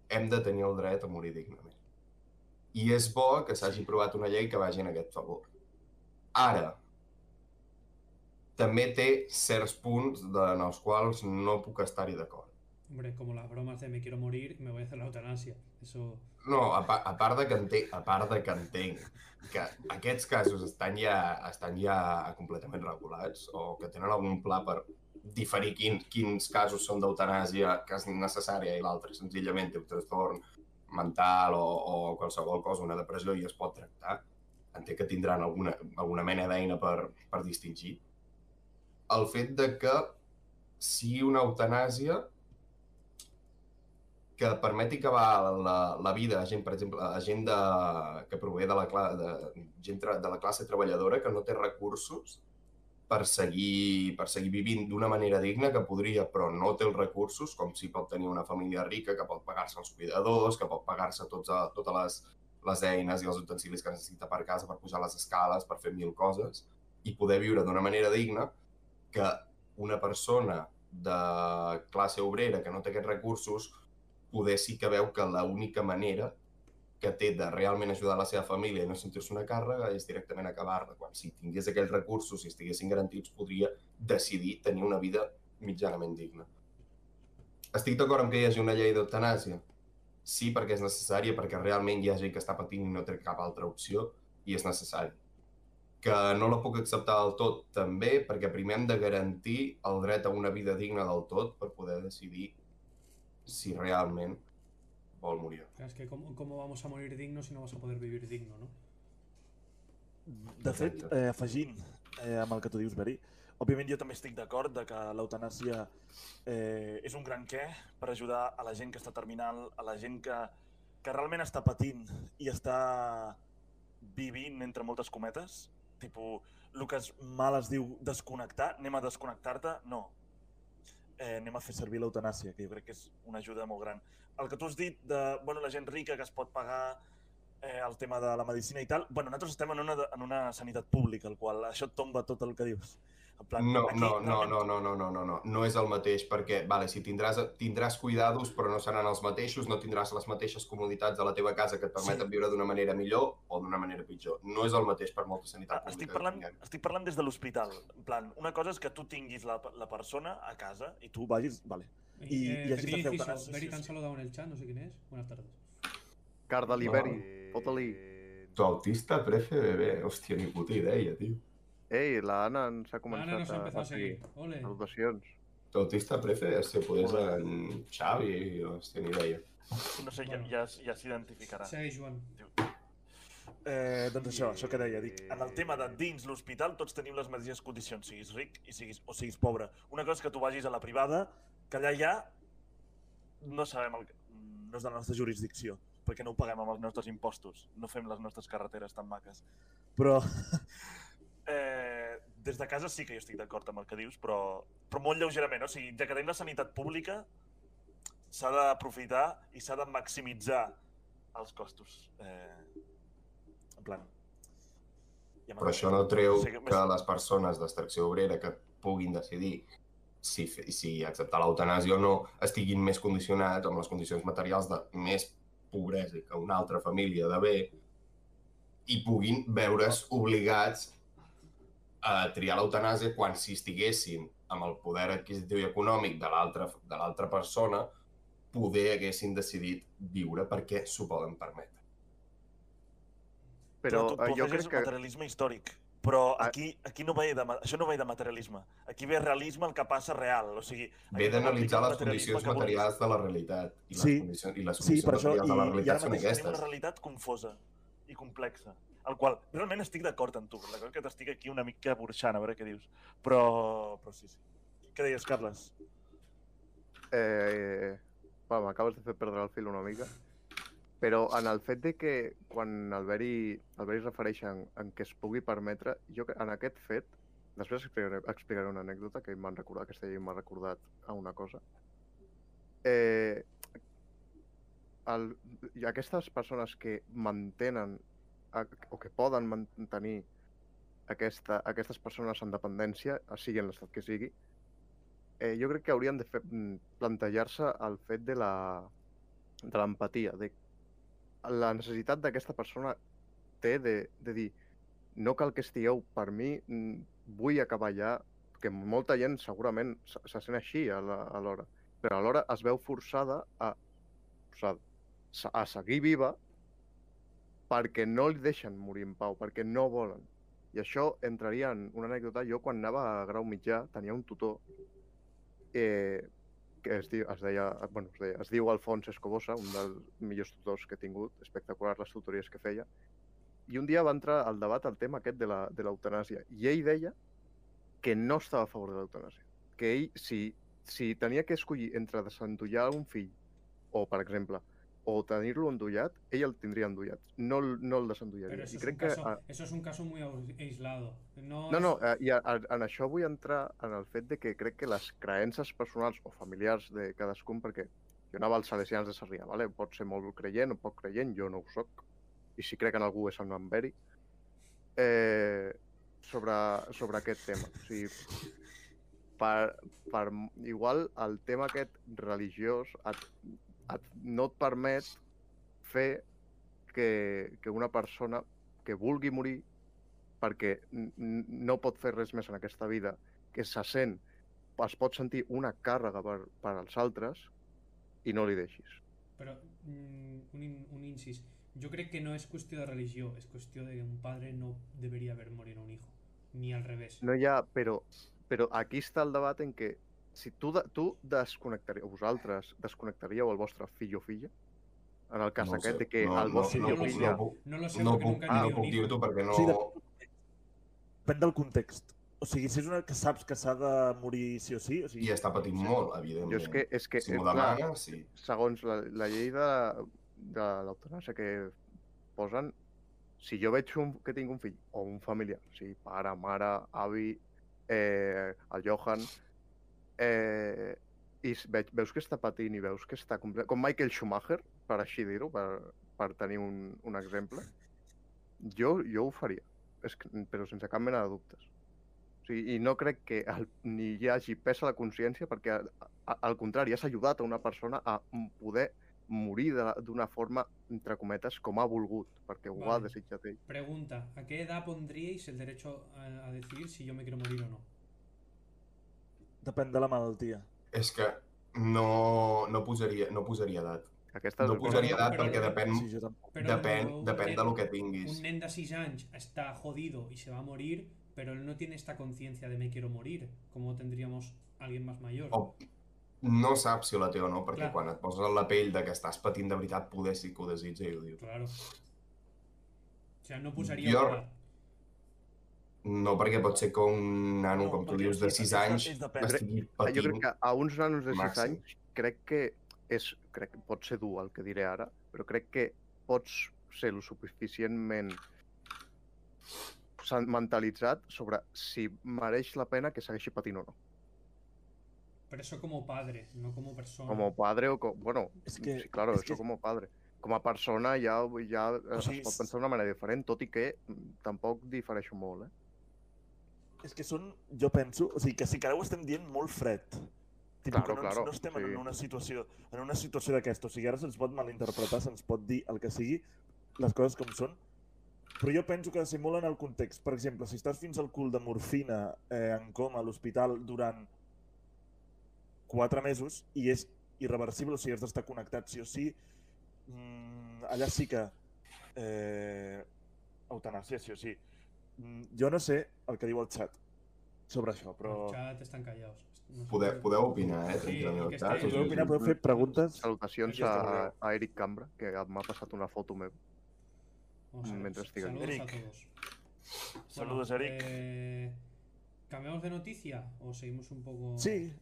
B: hem de tenir el dret a morir dignament. I és bo que s'hagi aprovat una llei que vagi en aquest favor. Ara, també té certs punts de- en els quals no puc estar-hi d'acord.
C: Hombre, como las bromas de me quiero morir, me voy a hacer la eutanasia. Eso.
B: No, a, pa a part de que entenc, a part de que entenc que aquests casos estan ja, estan ja completament regulats o que tenen algun pla per diferir quin, quins casos són d'eutanàsia que és necessària i l'altre senzillament té un trastorn mental o, o qualsevol cosa, una depressió, i es pot tractar. Entenc que tindran alguna, alguna mena d'eina per, per distingir. El fet de que sigui una eutanàsia que permeti acabar la, la vida a gent, per exemple, a gent de, que prové de la, cla- de, gent tra- de la classe treballadora que no té recursos per seguir, per seguir vivint d'una manera digna que podria, però no té els recursos, com si pot tenir una família rica que pot pagar-se els cuidadors, que pot pagar-se tots a, totes les, les eines i els utensilis que necessita per casa, per pujar les escales, per fer mil coses, i poder viure d'una manera digna que una persona de classe obrera que no té aquests recursos poder sí que veu que l'única manera que té de realment ajudar la seva família i no sentir-se una càrrega és directament acabar-la. Quan si tingués aquells recursos i si estiguessin garantits, podria decidir tenir una vida mitjanament digna. Estic d'acord amb que hi hagi una llei d'eutanàsia? Sí, perquè és necessària, perquè realment hi ha gent que està patint i no té cap altra opció i és necessari. Que no la puc acceptar del tot, també, perquè primer hem de garantir el dret a una vida digna del tot per poder decidir si realment vol morir.
C: Claro, es que ¿cómo, cómo vamos a morir digno si no vas a poder vivir digno, no?
D: De fet, eh, afegint eh, amb el que tu dius, Beri, òbviament jo també estic d'acord de que l'eutanàsia eh, és un gran què per ajudar a la gent que està terminal, a la gent que, que realment està patint i està vivint entre moltes cometes. Tipo, el que es mal es diu desconnectar, anem a desconnectar-te? No. Eh, anem a fer servir l'eutanàsia, que jo crec que és una ajuda molt gran. El que tu has dit de bueno, la gent rica que es pot pagar eh, el tema de la medicina i tal, bueno, nosaltres estem en una, de- en una sanitat pública, el qual això et tomba tot el que dius. En
B: No,
D: aquí
B: no, no,
D: realment
B: no, no, no, no, no, no, no és el mateix, perquè, vale, si tindràs, tindràs cuidados, però no seran els mateixos, no tindràs les mateixes comoditats a la teva casa que et permeten
D: Sí.
B: viure d'una manera millor o d'una manera pitjor. No és el mateix per molta sanitat pública.
D: Estic
B: que
D: parlant,
B: tinguem.
D: estic parlant des de l'hospital. En plan, una cosa és que tu tinguis la, la persona a casa i tu vagis... Vale. Y-
C: eh,
D: y así
C: pequeño
D: te
C: inciso,
D: aceptarás, sí,
C: Beri
D: sí,
C: tan
D: sí.
C: solo dado en el chat, no sé quién es. Buenas tardes.
A: Car de l'Iberi, fota-li.
B: Tu autista, prefe, bebé, hòstia, ni puta idea, tio.
A: Ei, la Anna ens ha
C: Ahora
A: començat
C: nos ha empezado a
A: seguir.
C: seguir. Ole.
A: Salutacions.
B: Tu autista, prefe, hòstia, podés en Xavi, hòstia, ni idea.
D: No sé, ja,
C: Bueno.
D: ja, ja s'identificarà.
C: Segueix, Joan.
D: Eh, doncs això, això que deia, dic, en el tema de dins l'hospital tots tenim les mateixes condicions, siguis ric i siguis, o siguis pobre. Una cosa és que tu vagis a la privada, que allà ja no sabem el que, no és de la nostra jurisdicció, perquè no ho paguem amb els nostres impostos, no fem les nostres carreteres tan maques. Però eh, des de casa sí que jo estic d'acord amb el que dius, però, però molt lleugerament, o sigui, ja que tenim la sanitat pública, s'ha d'aprofitar i s'ha de maximitzar els costos. Eh, en plan... Ja
B: Però això no treu
D: Sí, que-
B: que les persones d'extracció obrera que puguin decidir si, fe- si acceptar l'eutanàsia o no estiguin més condicionats amb les condicions materials de més pobresa que una altra família de bé i puguin veure's obligats a triar l'eutanàsia quan si estiguessin amb el poder adquisitiu i econòmic de l'altra de l'altra persona poder haguessin decidit viure perquè s'ho poden permetre.
A: Però
D: tu, tu,
A: eh,
D: tu
A: jo
D: afegeixes
A: crec que...
D: materialisme històric, però
A: Ah.
D: aquí, aquí no ve de, ma- això no ve de materialisme. Aquí ve realisme el que passa real, o sigui...
B: Ve
D: aquí no
B: d'analitzar
D: aplica
B: les
D: el materialisme
B: condicions
D: que vulguis.
B: materials de la realitat. I les
D: Sí.
B: condicions, i les
D: Sí,
B: condicions
D: per això, i,
B: materials de la
D: i ara
B: realitat són
D: mateix tenim una
B: aquestes.
D: realitat confosa i complexa, el qual realment estic d'acord amb tu, la cosa que t'estic aquí una mica burxant, a veure què dius, però, però sí, sí. Què deies, Carles?
A: Eh, va, m'acabes de fer perdre el fil una mica. Però en el fet de que quan el Beri, el Beri es refereix en, en que es pugui permetre, jo que- en aquest fet, després explicaré, explicaré una anècdota que m'han recordat, aquesta llei m'ha recordat a una cosa. Eh, el, i aquestes persones que mantenen a- o que poden mantenir aquesta, aquestes persones en dependència, sigui en l'estat que sigui, eh, jo crec que haurien de fer- mm, plantejar-se el fet de la de l'empatia, de la necessitat d'aquesta persona té de, de dir no cal que estigueu per mi, mm, vull acabar ja, que molta gent segurament se, se sent així a la- alhora, però alhora es veu forçada a, forçada, se- a seguir viva perquè no li deixen morir en pau, perquè no volen. I això entraria en una anècdota. Jo, quan anava a grau mitjà, tenia un tutor eh, que es diu, es, deia, bueno, es, deia, es diu Alfons Escobosa, un dels millors tutors que he tingut, espectacular les tutories que feia, i un dia va entrar al debat el tema aquest de la- de l'eutanàsia, i ell deia que no estava a favor de l'eutanàsia, que ell, si, si tenia que escollir entre desendollar un fill, o, per exemple, o tenir-lo endollat, ell el tindria endollat, no, el- no el
C: Pero
A: desendollaria.
C: eso
A: I
C: es, un
A: crec que
C: caso,
A: a-
C: eso es un caso muy au- aislado. No,
A: no,
C: es-
A: no, eh, i a, a, en això vull entrar en el fet de que crec que les creences personals o familiars de cadascun, perquè jo anava als salesians de Sarrià, vale? pot ser molt creient o poc creient, jo no ho soc, i si crec en algú és en Amberi, eh, sobre, sobre aquest tema. O sigui, per, per, igual el tema aquest religiós et, et, no et permet fer que, que una persona que vulgui morir perquè n- n- no pot fer res més en aquesta vida, que se sent, es pot sentir una càrrega per, per als altres i no li deixis.
C: Però mm, un, in- un incís. Yo creo que no es cuestión de religión, es cuestión de que un padre no debería ver morir a un hijo. Ni al revés.
A: No hi ha, però, però aquí està el debat en què si tu, de, tu desconnectaríeu, vosaltres desconnectaríeu el vostre fill o filla, en el cas
B: ho
A: aquest
B: sé.
A: de que
B: no,
A: el vostre
B: no,
A: fill o
B: no, puc-
A: filla...
B: no, puc-
C: No lo sé
B: no ah,
C: porque
B: puc,
C: nunca he
B: no
C: tenido un
B: puc
C: hijo.
B: dir-t'ho perquè no...
D: Sí, de- Depèn del context. O sigui, si és una que saps que s'ha de morir sí o sí, o sigui,
B: I està patint molt, evidentment.
A: Jo és que, és que
B: si m'ho
A: eh, clar,
B: demana, sí.
A: segons la, la llei de, de l'eutanàsia que posen, si jo veig un, que tinc un fill o un familiar, o sigui, pare, mare, avi, eh, el Johan, eh, i s- veig, veus que està patint i veus que està... comple- Com Michael Schumacher, per així dir-ho, per, per tenir un, un exemple, jo, jo ho faria, és que, però sense cap mena de dubtes. O sigui, I no crec que el, ni hi hagi pes a la consciència perquè, a, a, al contrari, has ajudat a una persona a m- poder morir de la- d'una forma, entre cometes, com ha volgut, perquè ho ha
C: Vale.
A: desitjat ell.
C: Pregunta, ¿a qué edad pondríais el derecho a, a decidir si yo me quiero morir o no?
D: depèn de la malaltia.
B: És que no, no, posaria, no posaria edat.
A: Aquesta
B: No
A: és
B: posaria
C: però-
B: edat perquè
C: però-
B: depèn,
D: Sí, jo tampoc.
C: Però
B: depèn,
C: un
B: depèn
C: nen-
B: del que
C: Un
B: tinguis.
C: nen de 6 años está jodido y se va a morir, pero él no tiene esta conciencia de me quiero morir, como tendríamos alguien más mayor.
B: O no saps si la té o no, perquè
C: Clar.
B: quan et poses en la pell de que estàs patint de veritat, poder sí que ho desitja i ho diu.
C: Claro. O sea, no pusaría
B: Yo-
C: una-
B: No, perquè pot ser que un nano,
D: No,
B: com tu
D: perquè
B: dius, de
D: és-
B: 6
D: és-
B: anys
D: és depèn.
B: estigui
A: Ah, Jo crec
B: patint.
A: que a uns nanos de 6
B: màxim.
A: anys crec que és, crec, que pot ser dur el que diré ara, però crec que pots ser lo suficientment sen- mentalitzat sobre si mereix la pena que segueixi patint o no.
C: Pero eso como padre, no como persona.
A: Como padre o... Com... Bueno,
D: Mm. És que-
A: sí, claro,
D: és
A: eso
D: que-
A: como padre. Com a persona ja, ja eh,
D: sigui,
A: es pot
D: és-
A: pensar d'una manera diferent, tot i que mm, tampoc difereixo molt, eh?
D: És que són, jo penso, o sigui, que sí que ara ho estem dient molt fred. Tipo,
A: Claro,
D: que no, ens-
A: claro,
D: no estem
A: sí.
D: en una situació en una situació d'aquesta. O sigui, ara se'ns pot malinterpretar, se'ns pot dir el que sigui, les coses com són. Però jo penso que simulen el context. Per exemple, si estàs fins al cul de morfina eh, en coma a l'hospital durant quatre mesos i és irreversible, o sigui, has d'estar connectat sí o sí, mm, allà sí que eh, eutanàsia, sí o sí. Mm, jo no sé el que diu el xat sobre això, però...
C: El chat están callados. No sé.
B: Podeu, podeu opinar, eh,
C: Sí,
B: tranquil·lament.
C: que
B: tal,
C: estem-
B: us
D: Podeu opinar,
B: llegim.
D: podeu fer preguntes.
A: Salutacions
C: Aquí està,
A: a,
D: Gabriel.
A: a Eric Cambra, que m'ha passat una foto meva.
C: Vamos a ver,
A: Mientras siga.
C: saludos a
D: Eric.
C: todos.
D: Saludos,
C: Bueno,
D: Eric.
C: eh, ¿Cambiamos de noticia o seguimos un poco...?
D: Sí,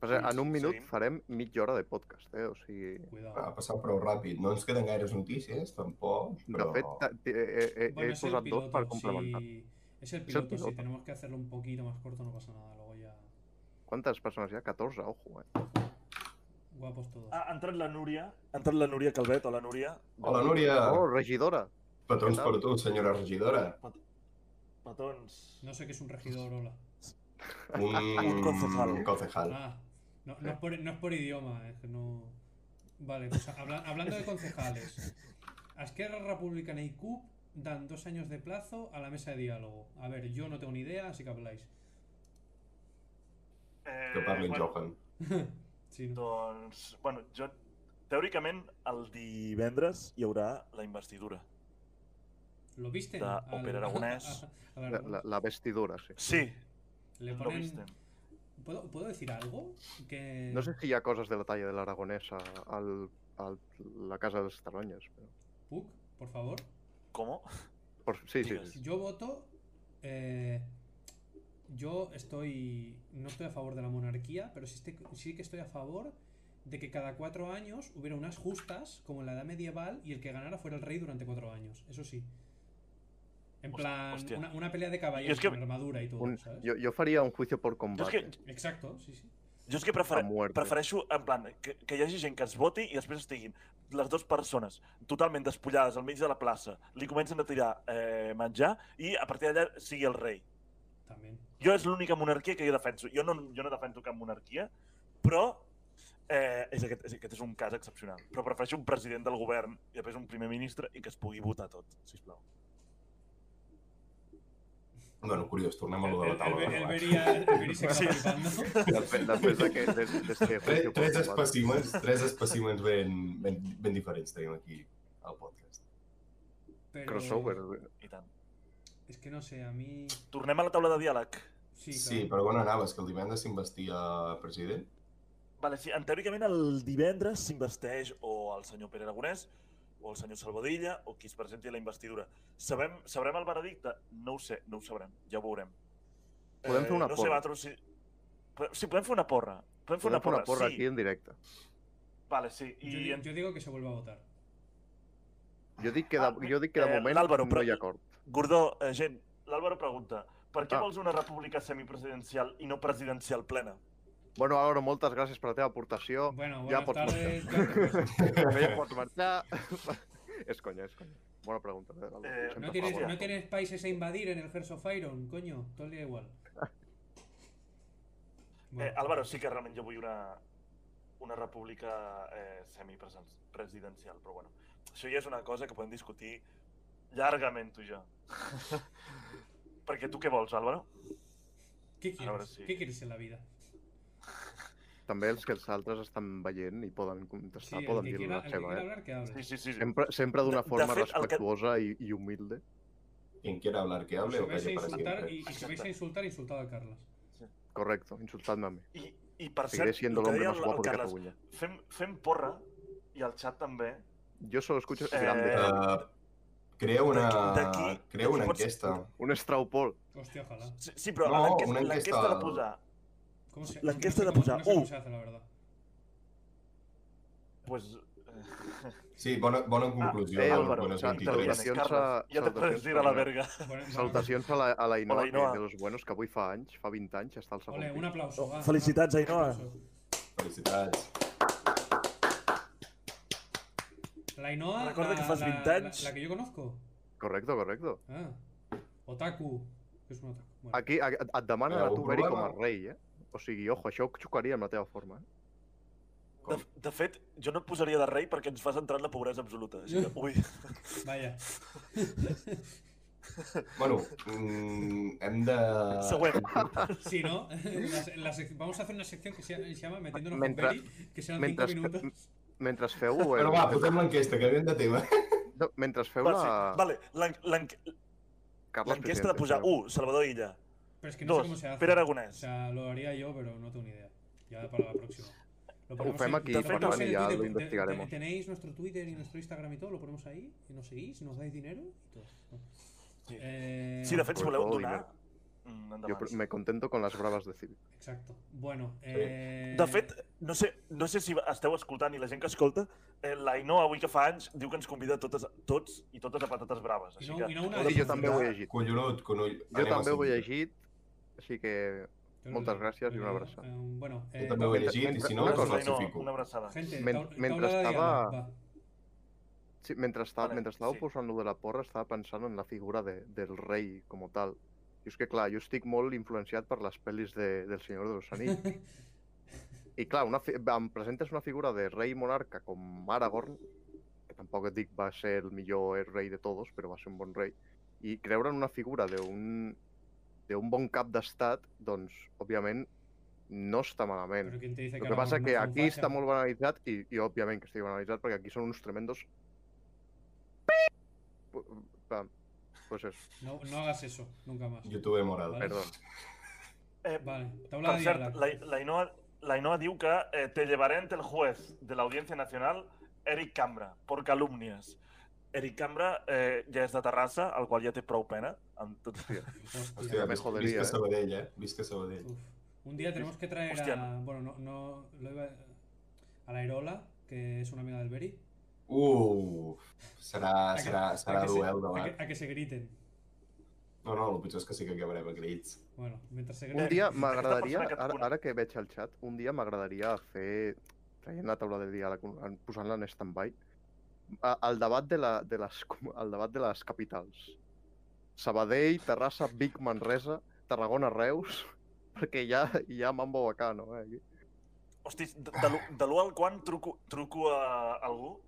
A: Passa,
D: Sí,
A: en un minut
D: seguim.
A: farem mitja hora de podcast, eh? O sigui...
C: Cuidado.
B: Ha passat prou ràpid. No ens queden gaires notícies, tampoc,
A: De
B: però...
A: fet, ta- ti- eh, eh, eh,
C: Bueno,
A: he
C: es el
A: posat dos per
C: piloto,
A: complementar.
C: si... Es el
A: el
C: piloto, si
A: piloto.
C: tenemos que hacerlo un poquito más corto no pasa nada, luego ya...
A: Quantes persones hi ha? 14, ojo, eh?
C: Guapos todos.
D: ha ha entrat la Núria, ha entrat la Núria Calvet, hola Núria.
B: Hola, Núria!
A: Oh, regidora!
B: Petons
A: què
B: per
A: tal?
B: tu, senyora regidora.
D: Petons.
C: No sé qué es un regidor, hola.
B: Un,
D: Un concejal.
B: Un concejal.
C: Ah, no, no, es por, no es por idioma, es que no... Vale, pues habla- hablando de concejales. A Esquerra Republicana y CUP dan dos años de plazo a la mesa de diálogo. A ver, yo no tengo ni idea, así que habláis.
D: Eh,
B: Que parli en
D: bueno,
B: Johan.
C: Sí, ¿no?
D: Doncs, bueno, jo... Teòricament, el divendres hi haurà la investidura.
C: ¿Lo viste?
D: de Ópera Aragonés.
A: La, la, la vestidora, sí.
D: Sí,
C: Le
D: lo
C: ponen,
D: visten.
C: ¿Puedo, ¿Puedo decir algo? Que...
A: No sé si hi ha coses de la talla de l'aragonesa al, al, la casa de les taronges. Però...
C: ¿Puc? Por favor.
D: ¿Cómo?
A: Por, sí, sí.
D: Digues.
C: Yo voto. eh, yo estoy. No estoy a favor de la monarquía, pero sí, este- sí que estoy a favor de que cada cuatro años hubiera unas justas, como en la edad medieval, y el que ganara fuera el rey durante cuatro años. Eso sí. En
D: Hostia,
C: plan,
D: hostia.
C: una, una pelea de caballeros
D: que-
C: con armadura y todo,
A: Un,
C: ¿sabes?
A: jo, jo faria un juicio por
D: Jo és
A: combate.
D: que,
C: Exacto, sí, sí.
D: jo és que
A: a
D: prefer,
A: muerte.
D: prefereixo, en plan, que, que hi hagi gent que es voti i després estiguin les dues persones totalment despullades al mig de la plaça, li comencen a tirar eh, menjar i a partir d'allà sigui el rei.
C: También.
D: Jo és l'única monarquia que jo defenso. Jo no, jo no defenso cap monarquia, però eh, és aquest, és, aquest és un cas excepcional. Però prefereixo un president del govern i després un primer ministre i que es pugui votar tot, sisplau.
B: Bueno, curiós, tornem a
C: El,
B: lo de la taula.
C: el- el
B: de debat.
C: vería, el vería se
D: Sí.
C: está flipando.
A: Després després d'aquest des- d'este
B: Tres,
A: juicio
B: tres
A: por combate.
B: espècimens, tres espècimens ben, ben, ben diferents tenim aquí al podcast.
C: Pero
A: Crossover.
D: I tant.
C: Es que no sé, a mí.
D: Tornem a la taula de diàleg.
C: Sí,
B: Sí,
C: claro.
B: sí però on anaves? Que el divendres s'investia president?
D: Vale, sí, en, teòricament el divendres s'investeix o el senyor Pere Aragonès o el senyor Salvadilla o qui es presenti a la investidura. Sabem, sabrem el veredicte? No ho sé, no ho sabrem, ja ho veurem. Eh,
A: Podem fer una
D: no
A: porra.
D: Sé, Matro, si... Però- Sí, podem fer una porra. Podem fer
A: Podem
D: una
A: fer
D: porra,
A: una porra
D: sí.
A: aquí en directe.
D: Vale, sí. I
C: Yo, di-
D: en...
C: yo digo que se vuelva a votar.
A: Jo dic que de,
D: Ah,
A: jo dic que de
D: eh,
A: moment
D: l'Àlvaro,
A: no
D: però-
A: hi ha acord.
D: Gordó, eh, gent, l'Àlvaro pregunta per què
A: Ah.
D: vols una república semipresidencial i no presidencial plena?
A: Bueno, Álvaro, moltes gràcies per la teva aportació.
C: Bueno,
A: Ya
C: buenas
A: por
C: tardes. ya-
A: Però ja pots marxar. és conya, és conya. Bona pregunta. Eh? Álvaro,
D: Eh,
A: sempre
C: ¿No
A: fa
C: tienes,
A: bona
D: favor.
C: no
A: pregunta.
C: tienes países a invadir en el Hearts of Iron, coño. Todo el día igual. Bueno,
D: Eh, Álvaro, sí que realment jo vull una, una república eh, semipresidencial, però bueno, això ja és una cosa que podem discutir llargament tu i jo. Perquè tu què vols, Álvaro?
C: ¿qué, quieres?
D: ahora sí.
C: ¿Qué quieres en la vida?
A: També els que els altres estan veient i poden
C: Sí,
A: contestar,
C: el
A: poden
C: que
A: dir
C: quiera, el
A: la
C: que
A: seva.
C: quiera
A: Eh?
C: hablar, que hable.
D: Sí, sí, sí. sí.
A: Sempre, sempre d'una
D: De- de
A: forma
D: fet, el que-
A: respectuosa i, i humilde.
B: Quien quiera hablar que hable
C: Si
B: o
C: vais a
B: calle para
C: insultar,
B: siempre.
C: y, y si vais a insultar, insultad a Carlas.
A: Correcto, insultadme a mi.
D: I, I per
A: Seguiré
D: cert,
A: siendo
D: el que
A: l'home
D: deia
A: més
D: el,
A: guapo
D: el
A: de
D: Carles,
A: Catalunya.
D: fem, fem porra, i al xat també,
A: Jo solo escucho
D: Eh,
A: grandes.
B: Uh, crea una,
D: d'aquí-
B: crea una
D: d'aquí pots-
B: enquesta.
A: Un straupol.
C: Hostia, ojalá.
D: sí, sí
B: No,
D: però no, l'enquesta
B: una
D: l'enquesta
B: enquesta-
D: la posar,
C: ¿Cómo se,
D: La
C: no
D: enquesta
C: sé
D: de
C: cómo-
D: posar.
C: no sé cómo
D: Uh.
C: se hace, la verdad.
D: pues, ah,
B: Sí, bona, bona conclusió.
A: eh,
B: Ah,
A: Álvaro,
B: bones
A: s'ha-
B: 23.
A: s'ha- Salutacions a-
D: Carles, ja t'he
A: salutacions
D: de dir a la
A: a-
D: verga.
C: Bueno, bueno,
A: Salutacions a la, a la Inoa,
D: Hola, Ainhoa.
A: que de los buenos, que avui fa anys, fa 20 anys, està al segon
C: Ole, un
A: pis.
C: aplauso. va,
D: Felicitats,
C: va,
D: Ainhoa.
C: un aplauso.
B: Felicitats.
C: La Ainhoa.
D: Recorda
C: la-
D: que fas
C: la-
D: 20
C: la-
D: anys.
C: La, que yo conozco.
A: Correcto, correcto.
C: Ah. Otaku. que Es un otaku. Bueno.
A: Aquí a- et demanen a
B: Algun
A: tu, Beri, com a
B: problema?
A: rei, eh? O sigui, ojo, això xocaria amb la teva forma, eh?
D: De,
B: Com?
D: de fet, jo no et posaria de rei perquè ens fas entrar en la pobresa absoluta. Així que, ui,
C: Vaya.
B: Bueno, mm, hem de...
D: següent.
C: Sí, ¿no? La- la sec- vamos a hacer una sección que se, se llama Metiéndonos
A: Mientras-
C: con Beri, que sean
A: mientras-
C: 5 minutos.
A: Mentre feu... Eh,
B: Bueno, va, posem l'enquesta, canviem de tema.
A: no, mentre feu
D: Va,
A: la...
D: sí. Vale, l'en- l'en-
A: Carles
D: l'enquesta de
A: Presidente,
D: posar
A: sí.
D: 1, Salvador Illa.
C: Pero es que no sé cómo
D: 2,
C: se hace.
D: Pere
C: O
D: Aragonès.
C: sea, lo haría yo, pero no tengo ni idea. Ya para la próxima. Lo
A: Fem aquí,
C: lo
D: Juan,
C: ponemos
D: y
C: el
A: ya lo
C: Twitter, te-
A: investigaremos.
C: te- Tenéis nuestro Twitter y nuestro Instagram y todo, lo ponemos ahí, y nos seguís, nos dais dinero y todo.
D: Sí.
C: Eh,
D: Sí, de fet, si
A: Sobre
D: voleu
A: todo
D: donar...
A: dinero.
D: Mm,
A: Jo
D: endavant.
A: pr- me contento con las bravas de Civi.
C: Exacto. Bueno, eh,
D: De fet, no sé, no sé si esteu escoltant i la gent que escolta, eh, l'Ainó, avui que fa anys, diu que ens convida a totes, tots i totes a patates braves.
C: I
D: Així
C: no-
D: que
C: i no una
D: heu
C: de-
D: de
A: Sí, jo també ho he
D: aprofitar.
A: llegit.
B: Collonut, conoll.
A: Jo
B: anem a
A: també ho he
B: seguir.
A: llegit, així que
C: yo
A: moltes
C: lo-
A: gràcies i
C: lo
A: una
C: digo.
A: abraçada.
C: Eh, bueno, eh,
B: Jo també ho he
A: mentre-
B: llegit i
A: mentre-
B: si no,
A: una
B: us
A: cosa,
B: ho
A: no,
D: Ainhoa,
B: classifico.
D: una abraçada.
C: gente,
A: men-
C: taula-
A: mentre
C: taula de
A: estava-
C: diàleg, va.
A: Sí, mentre, estava,
D: Vale,
A: mentre estàveu
D: sí.
A: posant lo de la porra estava pensant en la figura de, del rei com a tal. I és que, clar, jo estic molt influenciat per les pel·lis de, del Senyor dels Anills. I, clar, una fi... em presentes una figura de rei monarca com Aragorn, que tampoc et dic va ser el millor er-, rei de tots, però va ser un bon rei, i creure en una figura d'un d'un bon cap d'estat, doncs, òbviament, no està malament.
C: Pero quién te dice
A: El que
C: ahora
A: passa
C: no
A: que
C: son
A: aquí
C: fachas.
A: està molt banalitzat i, i òbviament que estic banalitzat perquè aquí són uns tremendos... Pu- Pam. Pues és,
C: No, no hagas eso, nunca más.
B: YouTube moral.
C: Vale.
A: perdó.
D: Eh,
C: Vale, taula
D: per
C: de
D: cert,
C: diàleg.
D: la, la, Inoa, la Ainhoa diu que eh, te llevaré ante el juez de la Audiencia Nacional, Eric Cambra, por calumnies. Eric Cambra eh, ja és de Terrassa, el qual ja té prou pena. Amb tot...
B: Hòstia,
A: me
B: vis-
A: jodería,
B: visca
A: eh.
B: Sabadell, eh? Visca Sabadell.
C: Uf. Un día tenemos que traer
D: Hostia,
C: a. Bueno, no. no lo iba- a la Aerola, que es una amiga del Beri. A
B: Uf, Uh, serà,
C: que-
B: serà, serà
C: a que se-
B: duel
C: a
B: demà.
C: que- a que se griten.
B: No, no, el pitjor és que sí que acabarem agraïts.
C: Bueno, mientras se
A: Un
C: griten.
A: dia
D: Aquesta
A: m'agradaria,
D: persona que et
A: ara,
D: conec.
A: ara que veig el xat, un dia m'agradaria fer, traient la taula de diàleg, en- posant-la en stand-by, a- el debat de, la, de les, com- el debat de les capitals. Sabadell, Terrassa, Vic, Manresa, Tarragona, Reus, perquè hi ha, hi ha mambo bacano, eh? aquí.
D: Hosti, de, de, l'u- de l'1 al quan truco, truco a algú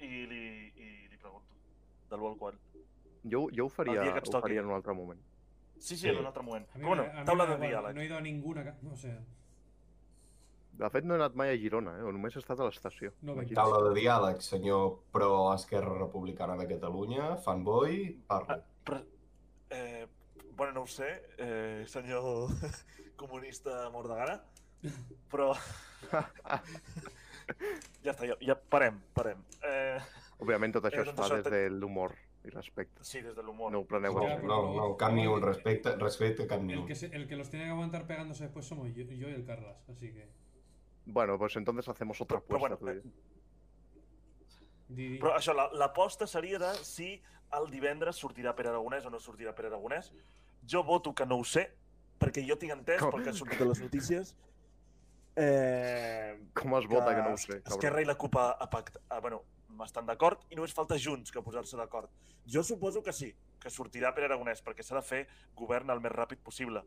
D: i li, i li pregunto. De l'1 al quan.
A: Jo, jo ho faria,
D: dia que ens
A: ho
D: toqui.
A: faria en un altre moment.
D: Sí, sí,
B: Sí.
D: en un altre moment.
C: A mí
D: Però bueno,
C: me- a mí
D: taula
C: me da
D: de
C: igual,
D: diàleg.
C: No he ido a ninguna. ca- O sea,
A: De fet, no he anat mai a Girona, eh? només he estat a l'estació.
C: No
A: Aquí.
C: venc.
B: Taula de diàleg, senyor pro-Esquerra Republicana de Catalunya, fanboy,
A: Ah,
B: parla.
D: Però, eh, bueno, no ho sé, eh, senyor comunista mort de gana, però... ja està, ja, ja parem, parem. Eh,
A: Òbviament tot això
D: Eh,
A: es
D: doncs
A: fa
D: això
A: des
D: te-
A: de l'humor i respecte.
D: sí, des de l'humor.
A: No ho preneu
B: No,
A: a
C: Ja,
A: ser.
B: no, no, cap ni un, respecte, respecte cap ni
C: el,
B: un.
C: que se- el que los tiene que aguantar pegándose después somos yo, yo y el Carlas. Así que.
A: Bueno, pues entonces hacemos otra
D: Però,
A: apuesta.
D: bueno, eh,
A: tú dices.
C: di- di-
D: Però això, la- l'aposta seria de si el divendres sortirà Pere Aragonès o no sortirà Pere Aragonès. Jo voto que no ho sé, perquè jo tinc entès,
A: Com-
D: pel que ha sortit a les notícies, eh,
A: Com es vota, que no ho sé, cabrón.
D: Esquerra i la CUP a, pact... a, bueno, estan d'acord i només falta Junts que posar-se d'acord. Jo suposo que sí, que sortirà Pere Aragonès, perquè s'ha de fer govern el més ràpid possible.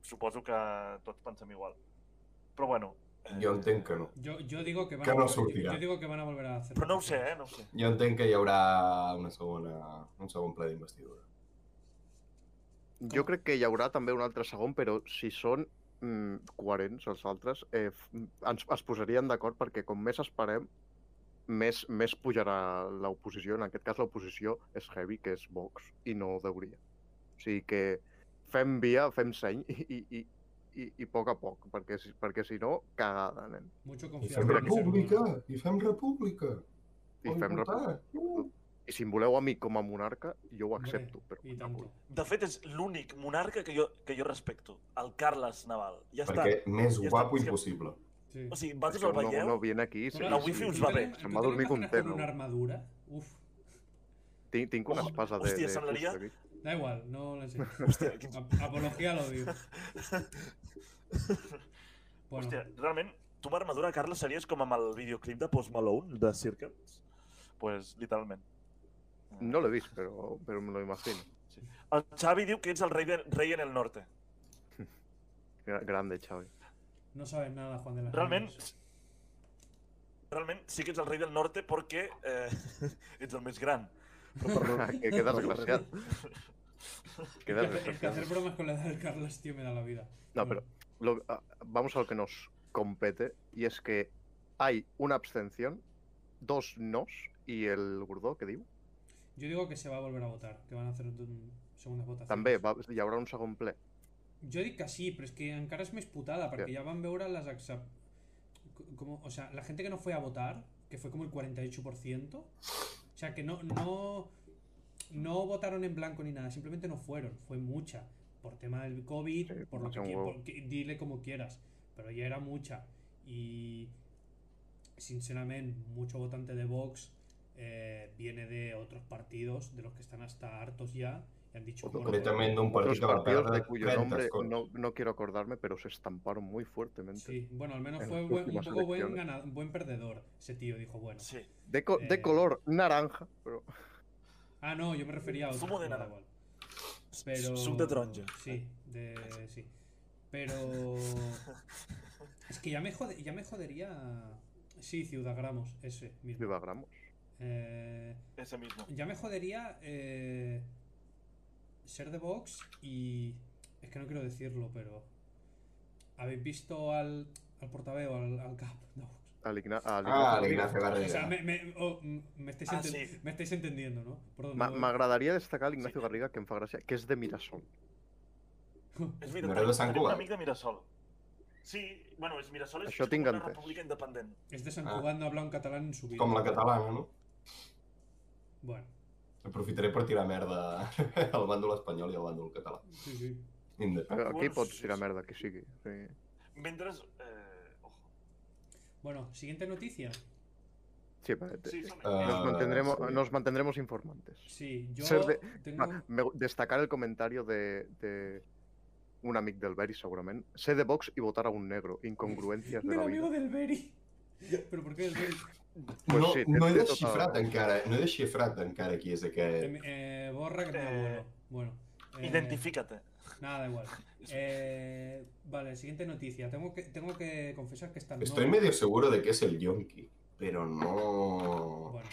D: Suposo que tots pensem igual. Però bueno... eh,
B: Jo entenc que no.
C: Yo, yo digo que van
B: Que
C: a
B: no
C: volver-
B: surtirá.
C: Yo digo que van a volver a hacer.
D: Però no ho sé, eh? No ho sé.
B: Jo entenc que hi haurà una segona, un segon ple d'investidura.
A: Jo crec que hi haurà també un altre segon, però si són mm, coherents els altres, eh, f- ens, es posarien d'acord perquè com més esperem, més, més pujarà l'oposició. En aquest cas l'oposició és heavy, que és Vox, i no deuria. O sigui que fem via, fem seny i, i, i, i, i a poc a poc, perquè, si- perquè si no, cagada, nen.
D: ¿eh?
C: Mucho
B: I
C: confianza.
B: fem
A: crec que sí.
B: república! I fem república!
A: I,
B: Vull
A: fem
B: votar.
A: república.
B: Uh!
A: I si em voleu a mi com a monarca, jo ho
C: Hombre,
A: accepto. Però
C: Y
A: no
C: tanto.
D: De fet, és l'únic monarca que jo, que jo respecto, el Carles Naval. Ja està.
B: Perquè més
D: Ja està.
B: guapo impossible.
C: Sí.
D: O sigui, vosaltres
A: Això
D: el veieu?
A: No, no viene aquí.
C: Hola,
A: sí,
D: la
A: sí,
D: wifi
A: sí.
D: us
C: ¿Tú
D: va
C: te
D: bé.
C: ima-
A: Se'm
C: tú
A: va
C: te
A: dormir
C: imaginas
A: content,
C: con una
A: no?
C: armadura? Uf.
A: Tinc, tinc una
D: Oh,
A: espasa de...
D: hòstia,
A: de
D: semblaria-
A: fusta, Vic.
C: Da igual, no lo sé.
D: Hòstia, quin...
C: Ap- Apología al odio. Bueno,
D: Hòstia, realment, tu amb armadura, Carles, series com amb el videoclip de Post Malone, de Circles? Pues, literalment.
A: No l'he vist, però, però me lo imagino.
D: El Xavi diu que ets el rei, de... rei en el norte.
A: Gra- Grande, Xavi.
C: no sabes nada, Juan de las
D: Realment,
C: Nieves.
D: realment sí que ets el rei del norte perquè eh, ets el més gran. Però per...
A: que, que desgraciat.
C: Es que
A: Queda
C: hacer- es que hacer
A: desgraciat.
C: bromas con la edad del Carlos, tío, me da la vida.
A: No, pero lo, ah, vamos a lo que nos compete, y es que hay una abstención, dos nos, y el Gurdó, que diu,
C: Yo digo que se va a volver a votar, que van a hacer un- segundas votaciones.
A: també va, hi haurà un segon ple.
C: Jo dic que sí, pero es que encara es més putada, porque
A: Què?
C: ya van veure las accept... Como, o sea, la gente que no fue a votar, que fue como el 48%, o sea, que no, no, no votaron en blanco ni nada, simplemente no fueron, fue mucha. Por tema del COVID,
A: Sí,
C: por lo que,
A: mucha un
C: qui-
A: huevo.
C: por- que- dile como quieras, pero ya era mucha. Y sinceramente, mucho votante de Vox eh, viene de otros partidos, de los que están hasta hartos ya, y han
A: Pues
C: dicho... bueno,
B: Concretament d'un
A: Los
B: partit que va
A: partidos
B: perdre
A: de cuyo
B: 30
A: nombre
B: escons.
A: no, no quiero acordarme, pero se estamparon muy fuertemente.
C: Sí, bueno, al menos
A: en
C: fue
A: las
C: buen- un
A: últimas
C: poco buen,
A: elecciones.
C: ganado- buen perdedor. Ese tío dijo, bueno.
D: Sí.
A: De, co- de
C: Eh.
A: color naranja, pero...
C: Ah, no, yo me refería a otro.
D: Zumo de
C: no, da
D: nada.
C: igual. Pero...
D: Suc de taronja.
C: Sí, de... sí. Pero... Es que ya me, jode- ya me jodería... Sí, Ciudad Gramos, ese mismo.
A: Viva Gramos.
C: Eh,
D: Ese mismo.
C: ya me jodería eh, ser de Vox y... Es que no quiero decirlo, pero... ¿Habéis visto al, al portaveo, al, al cap de Vox?
A: Al Igna- al
B: Ah,
A: Ignacio
B: l'Ignacio
C: O sea,
B: Garriga.
C: me, me- o, mm, me estáis,
D: Ah,
C: enten-
D: sí.
C: me estáis entendiendo, ¿no? Perdón,
A: Ma-
C: no-
A: M'agradaria destacar l'Ignacio Garriga, que em fa gràcia, que és de Mirassol.
D: És veritat,
B: Moreu de Sant
D: tenim un
B: Cugat?
D: amic de Mirasol. Sí, bueno, és Mirasol és
A: Això
D: com
A: tinc
D: una
A: entès.
D: república independent.
C: És de Sant
B: Ah.
C: Cugat, no habla este un català en su vida.
B: Com la catalana, no?
C: Bueno,
B: Aprofitaré per tirar merda al bàndol espanyol i al bàndol català.
C: sí, sí.
B: Inde-
A: Aquí
D: Ah, Bueno, sí,
A: pots
D: sí,
A: tirar
D: sí.
A: merda, que sigui. Sí.
D: Mentre... Eh, ojo.
C: Bueno, siguiente noticia.
A: Sí, vale, te-
D: Sí, som
B: Ah,
A: nos, mantendremos,
B: sí.
A: nos mantendremos informantes.
C: Sí, yo
A: Ser de-
C: tengo...
A: Ah, me- destacar el comentario de, de un amic del Beri, segurament. Ser de Vox i votar a un negro. Incongruencias de
C: Del
A: la
C: amigo
A: vida.
C: del Beri. ¿Pero por qué del Beri?
A: Pues
B: no,
A: sí, té-
B: no he
A: té tota
B: desxifrat
A: la-
B: encara, no he desxifrat encara qui és aquest.
C: Em- eh, borra que me
D: Eh,
C: abuelo. Bueno. eh,
D: Identifícate.
C: Nada, da igual. Eh, vale, siguiente noticia. Tengo que, tengo que confesar que esta no...
B: Estoy medio seguro de que es el Yonki, pero no...
C: Bueno,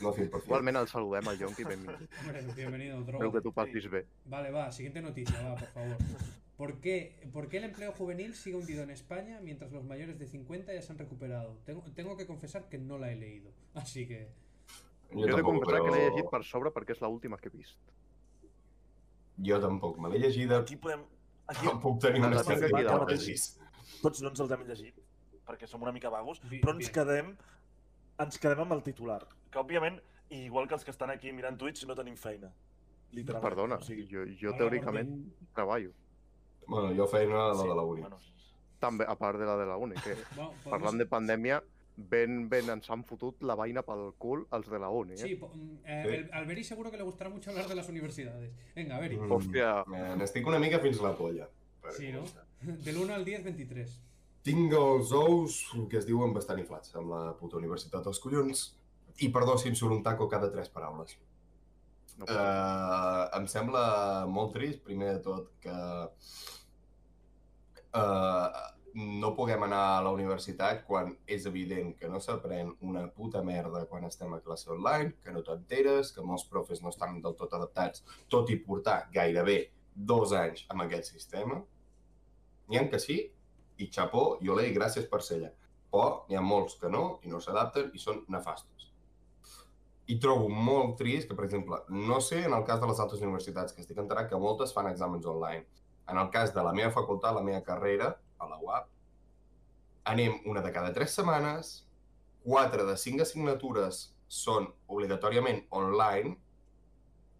B: No 100%.
A: Igualment el saludem, al Jonqui, benvingut.
C: hombre, bienvenido,
A: Espero
C: drogo.
A: que tu patis bé.
C: Vale, va, siguiente noticia, va, por favor. ¿Por qué, ¿Por qué el empleo juvenil sigue hundido en España mientras los mayores de 50 ya se han recuperado? Tengo, tengo que confesar que no la he leído. Así que...
A: Jo, he de
B: tampoc,
A: confessar
B: però-
A: que l'he llegit per sobre perquè és l'última que he vist.
B: Jo tampoc, me l'he llegida,
D: Aquí podem... Aquí
B: no puc tenir
A: Ah,
B: una
A: la tinc
B: certa
A: aquí
B: idea
A: davant.
B: precís.
D: tots no ens els hem llegit, perquè som una mica vagos,
C: Bi-
D: però ens
C: bien.
D: quedem, ens quedem amb el titular. Que, òbviament, igual que els que estan aquí mirant Twitch, no tenim feina. Literalment.
A: Perdona,
D: O sigui,
A: jo, jo
C: Hola,
A: teòricament treballo.
B: Bueno, jo feina la
D: sí,
B: de la uni.
D: bueno,
A: També, a part de la de la UNE, que
C: Bueno, podemos-
A: parlant de pandèmia, ben, ben ens han fotut la vaina pel cul els de la UNE. Eh?
C: Sí, po- mm, eh,
B: Sí.
C: el- al Beri seguro que le gustará mucho hablar de las universidades. Venga, Beri.
B: Mm.
A: Hòstia,
B: Eh, N'estic una mica fins la polla. per
C: Sí, no?
B: començar.
C: Del 1 al 10, 23.
B: Tinc els ous que es diuen bastant inflats amb la puta universitat dels collons. I perdó si em surt un taco cada tres paraules.
A: no pot ser.
B: Eh, em sembla molt trist, primer de tot, que eh, no puguem anar a la universitat quan és evident que no s'aprèn una puta merda quan estem a classe online, que no t'enteres, que molts profes no estan del tot adaptats, tot i portar gairebé dos anys amb aquest sistema. N'hi ha que sí, i xapó, i olé, gràcies per ser allà. Però n'hi ha molts que no, i no s'adapten, i són nefastos i trobo molt trist que, per exemple, no sé en el cas de les altres universitats, que estic enterat que moltes fan exàmens online. En el cas de la meva facultat, la meva carrera, a la UAP, anem una de cada tres setmanes, quatre de cinc assignatures són obligatòriament online,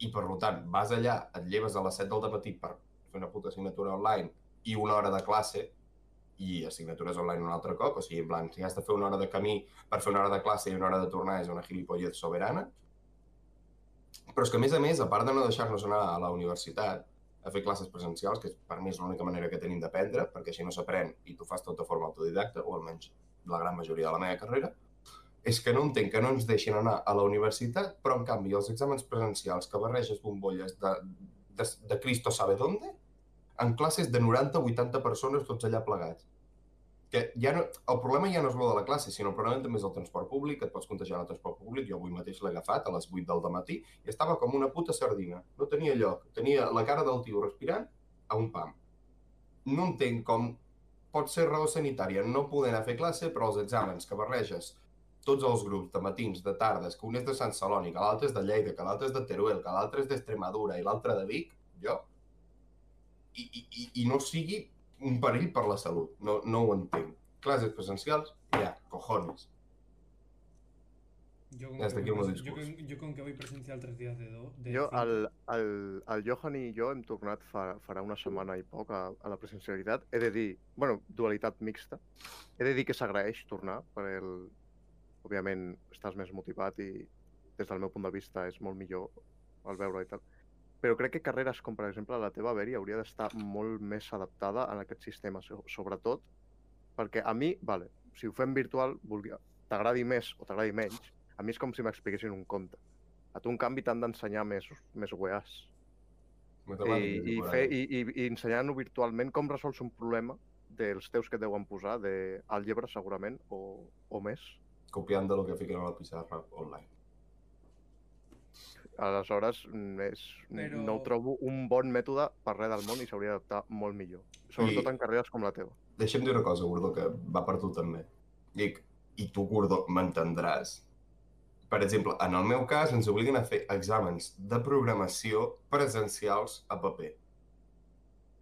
B: i per tant, vas allà, et lleves a les 7 del matí per fer una puta assignatura online i una hora de classe, i assignatures online un altre cop, o sigui, en plan, si has de fer una hora de camí per fer una hora de classe i una hora de tornar és una gilipollez soberana. Però és que, a més a més, a part de no deixar-nos anar a la universitat a fer classes presencials, que per mi és l'única manera que tenim d'aprendre, perquè així no s'aprèn i tu fas tot de forma autodidacta, o almenys la gran majoria de la meva carrera, és que no entenc que no ens deixin anar a la universitat, però en canvi els exàmens presencials que barreges bombolles de, de, de Cristo sabe dónde, en classes de 90-80 persones tots allà plegats que ja no, el problema ja no és el de la classe, sinó el problema també és el transport públic, que et pots contagiar al transport públic, jo avui mateix l'he agafat a les 8 del matí i estava com una puta sardina, no tenia lloc, tenia la cara del tio respirant a un pam. No entenc com pot ser raó sanitària no poder anar a fer classe, però els exàmens que barreges tots els grups de matins, de tardes, que un és de Sant Celoni, que l'altre és de Lleida, que l'altre és de Teruel, que l'altre és d'Extremadura i l'altre de Vic, jo, i, i, i, i no sigui un perill per la salut. No, no ho entenc. Classes presencials, ja, cojones.
C: Yo con,
B: Ya hasta
C: que
B: aquí
C: voy,
B: hemos
C: presen- yo
B: discurso.
C: con- yo con que voy presencial tres días de dos. De
A: Jo,
C: cinco.
A: el, el, el Johan i jo hem tornat fa, farà una setmana i poc a, a la presencialitat. He de dir, bueno, dualitat mixta, he de dir que s'agraeix tornar, per el... òbviament estàs més motivat i des del meu punt de vista és molt millor el veure i tal. Però crec que carreres com, per exemple, la teva Beri hauria d'estar molt més adaptada en aquest sistema, so- sobretot perquè a mi, vale, si ho fem virtual, vulgui- t'agradi més o t'agradi menys, a mi és com si m'expliquessin un conte. A tu, en canvi, t'han d'ensenyar més, més weas. I,
B: Matemàtiques
A: i,
B: por
A: fer,
B: ahí.
A: i, i, i ensenyant-ho virtualment com resols un problema dels teus que et deuen posar de àlgebra, segurament, o, o més.
B: Copiant de lo que fiquen a la pissarra online.
A: Aleshores, mm, és,
C: Però-
A: no ho trobo un bon mètode per res del món i s'hauria d'adaptar molt millor. Sobretot
B: I-
A: en carreres com la teva.
B: Deixa'm dir una cosa, Gordó, que va per tu també. Dic, i tu, Gordó, m'entendràs. Per exemple, en el meu cas ens obliguen a fer exàmens de programació presencials a paper.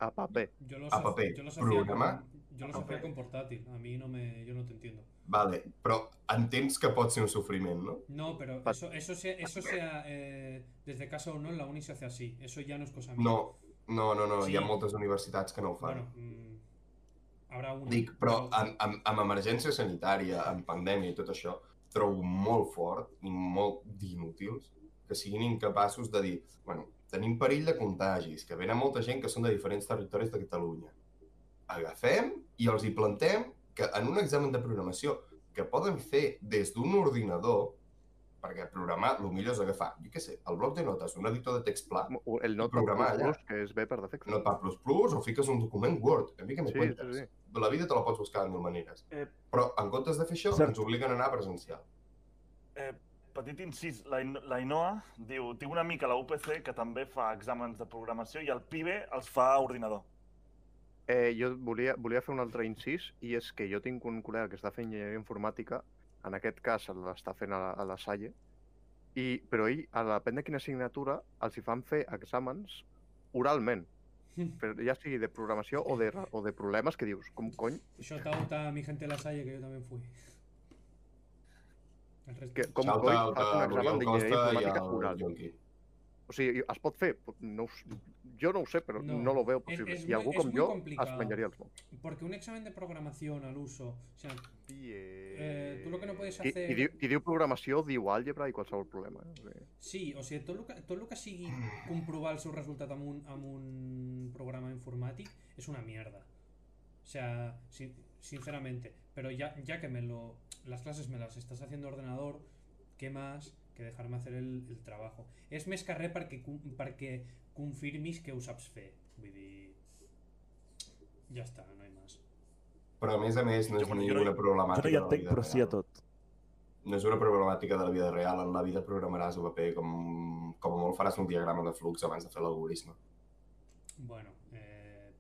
A: a papel.
C: Yo los,
B: A
C: haz-
B: papel,
C: yo los hacía
B: programa,
C: con- yo los
B: a
C: hacía
B: papel.
C: con portátil. A mí no me, yo no te entiendo.
B: Vale, però entens que pot ser un sofriment, no?
C: No, pero
A: Pa-
C: eso, eso sea, eso sea eh, desde casa o no, en la uni se hace así. Eso ya no es cosa mía.
B: No, no, no, no hi ha
C: Sí.
B: moltes universitats que no ho fan.
C: Bueno, mm, habrá una.
B: Dic, però amb, amb, amb emergència sanitària, amb pandèmia i tot això, trobo molt fort i molt d'inútils que siguin incapaços de dir, bueno, tenim perill de contagis, que venen molta gent que són de diferents territoris de Catalunya. Agafem i els hi plantem que en un examen de programació que poden fer des d'un ordinador, perquè programar, el millor és agafar, jo què sé, el bloc de notes, un editor de text pla,
A: O El Notepad
B: Programa allà.
A: Plus, que és bé per defecte.
B: Notepad++, o fiques un document Word, a mi que m'ho
A: Sí,
B: comptes.
A: sí, sí.
B: La vida te la pots buscar de mil maneres.
D: Eh,
B: Però en comptes de fer això,
D: Cert.
B: ens obliguen a anar presencial.
D: Eh, Petit incís, la, In- la Inoa diu, tinc una mica a la UPC que també fa exàmens de programació i el PIBE els fa a ordinador.
A: Eh, jo volia, volia fer un altre incís, i és que jo tinc un col·lega que està fent enginyeria informàtica, en aquest cas l'està fent a la, a la Salle, i, però ell, a depèn de quina assignatura, els hi fan fer exàmens oralment,
C: Hmm.
A: però ja sigui de programació o de, ra- o de problemes que dius, com cony,
C: Shout out a mi gente de la Salle, que yo también fui. El resto.
A: que, com
B: Shout
A: cony
B: out
A: fas
B: a
A: un examen
B: l'Oriol
A: d'enginyeria
B: Costa i
A: informàtica
B: al
A: oral.
B: Yonki.
A: O sigui, es pot fer, no ho s- jo no ho sé, però
C: No.
A: no, no lo veu
C: És-
A: possible.
C: és
A: I algú
C: muy- és
A: com
C: muy
A: jo
C: complicado.
A: es menjaria els mocs.
C: Porque un examen de programación al uso, o sea,
A: Eh,
C: tú lo que no puedes
A: Qui, qui,
C: hacer-
A: diu, qui diu programació diu àlgebra i qualsevol problema. Eh? O sigui,
C: sí, o sigui, tot el que, tot el que sigui comprovar el seu resultat amb un, amb un programa informàtic és una mierda. O sea, sin- sinceramente, pero ya, ya que me lo, las clases me las estás haciendo ordenador, ¿qué más que dejarme hacer el, el trabajo? És més que res perquè, com- perquè confirmis que ho saps fer. Vull dir... Ja està, no hi més.
B: Però a més a més, no
D: Jo-
B: és
D: jo no
B: ni
D: hi-
B: una
D: Jo
B: problemàtica
D: no
B: de
D: hi
B: la
D: entenc,
B: vida
D: però sí a
B: real.
D: tot.
B: No és una problemàtica de la vida real. En la vida programaràs el paper com, com a molt faràs un diagrama de flux abans de fer l'algoritme.
C: Bueno, eh,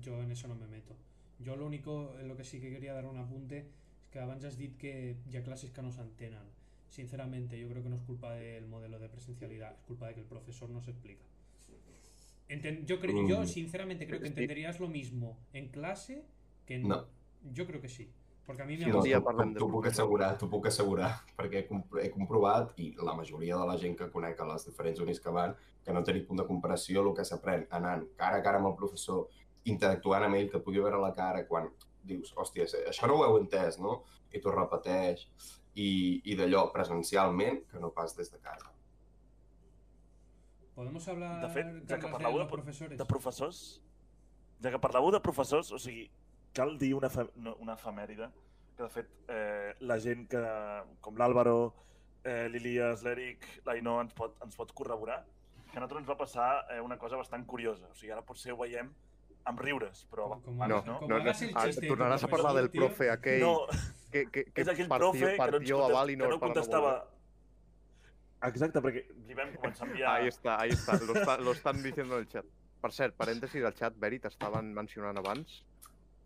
C: yo en eso no me meto. Yo lo único en lo que sí que quería dar un apunte es que abans has dit que hi ha classes que no s'entenen. Sinceramente, yo creo que no es culpa del modelo de presencialidad, es culpa de que el profesor no se explica. Enten- yo, creo, yo
B: Mm.
C: sinceramente creo que
A: Sí.
C: entenderías lo mismo en clase que en...
B: No.
C: Yo creo que sí. Porque a mí me
A: Sí,
C: ha
A: un
C: pasado.
A: dia
B: doncs t'ho-
A: parlem de
B: t'ho puc
A: professors.
B: assegurar, t'ho puc assegurar, perquè he, comp he comprovat, i la majoria de la gent que conec a les diferents unis que van, que no tenir punt de comparació el que s'aprèn anant cara a cara amb el professor, interactuant amb ell, que pugui veure la cara, quan dius, hòstia, això no ho heu entès, no? I t'ho repeteix, i, i d'allò presencialment, que no pas des de casa.
C: Podemos hablar,
D: De fet, ja que
C: Carles, de
D: parlàveu
C: los
D: de-
C: profesores?
D: De professors, ja que parlàveu de professors, o sigui, cal dir una, fe- no, una efemèride, que de fet eh, la gent que, com l'Àlvaro, eh, l'Ilias, l'Eric, l'Ainó ens pot, ens pot corroborar, que a nosaltres ens va passar eh, una cosa bastant curiosa. O sigui, ara potser ho veiem amb riures, però
C: Com- com
A: No,
D: abans
A: no,
D: no.
C: com
A: no, no.
C: hagas el
A: Ah,
C: chiste de tu
A: tornaràs a parlar
C: professor,
A: del
C: tio.
A: profe aquell
D: No,
A: que, que, que
D: és aquell profe que no, ens
A: partió a
D: contest-
A: Valinor
D: que no
A: per
D: contestava...
A: volver.
D: Exacte, perquè li vam començar a enviar...
A: Ahí está, ahí está, lo, está, lo están diciendo en el chat. Per cert, parèntesi del chat, Beri, t'estaven mencionant abans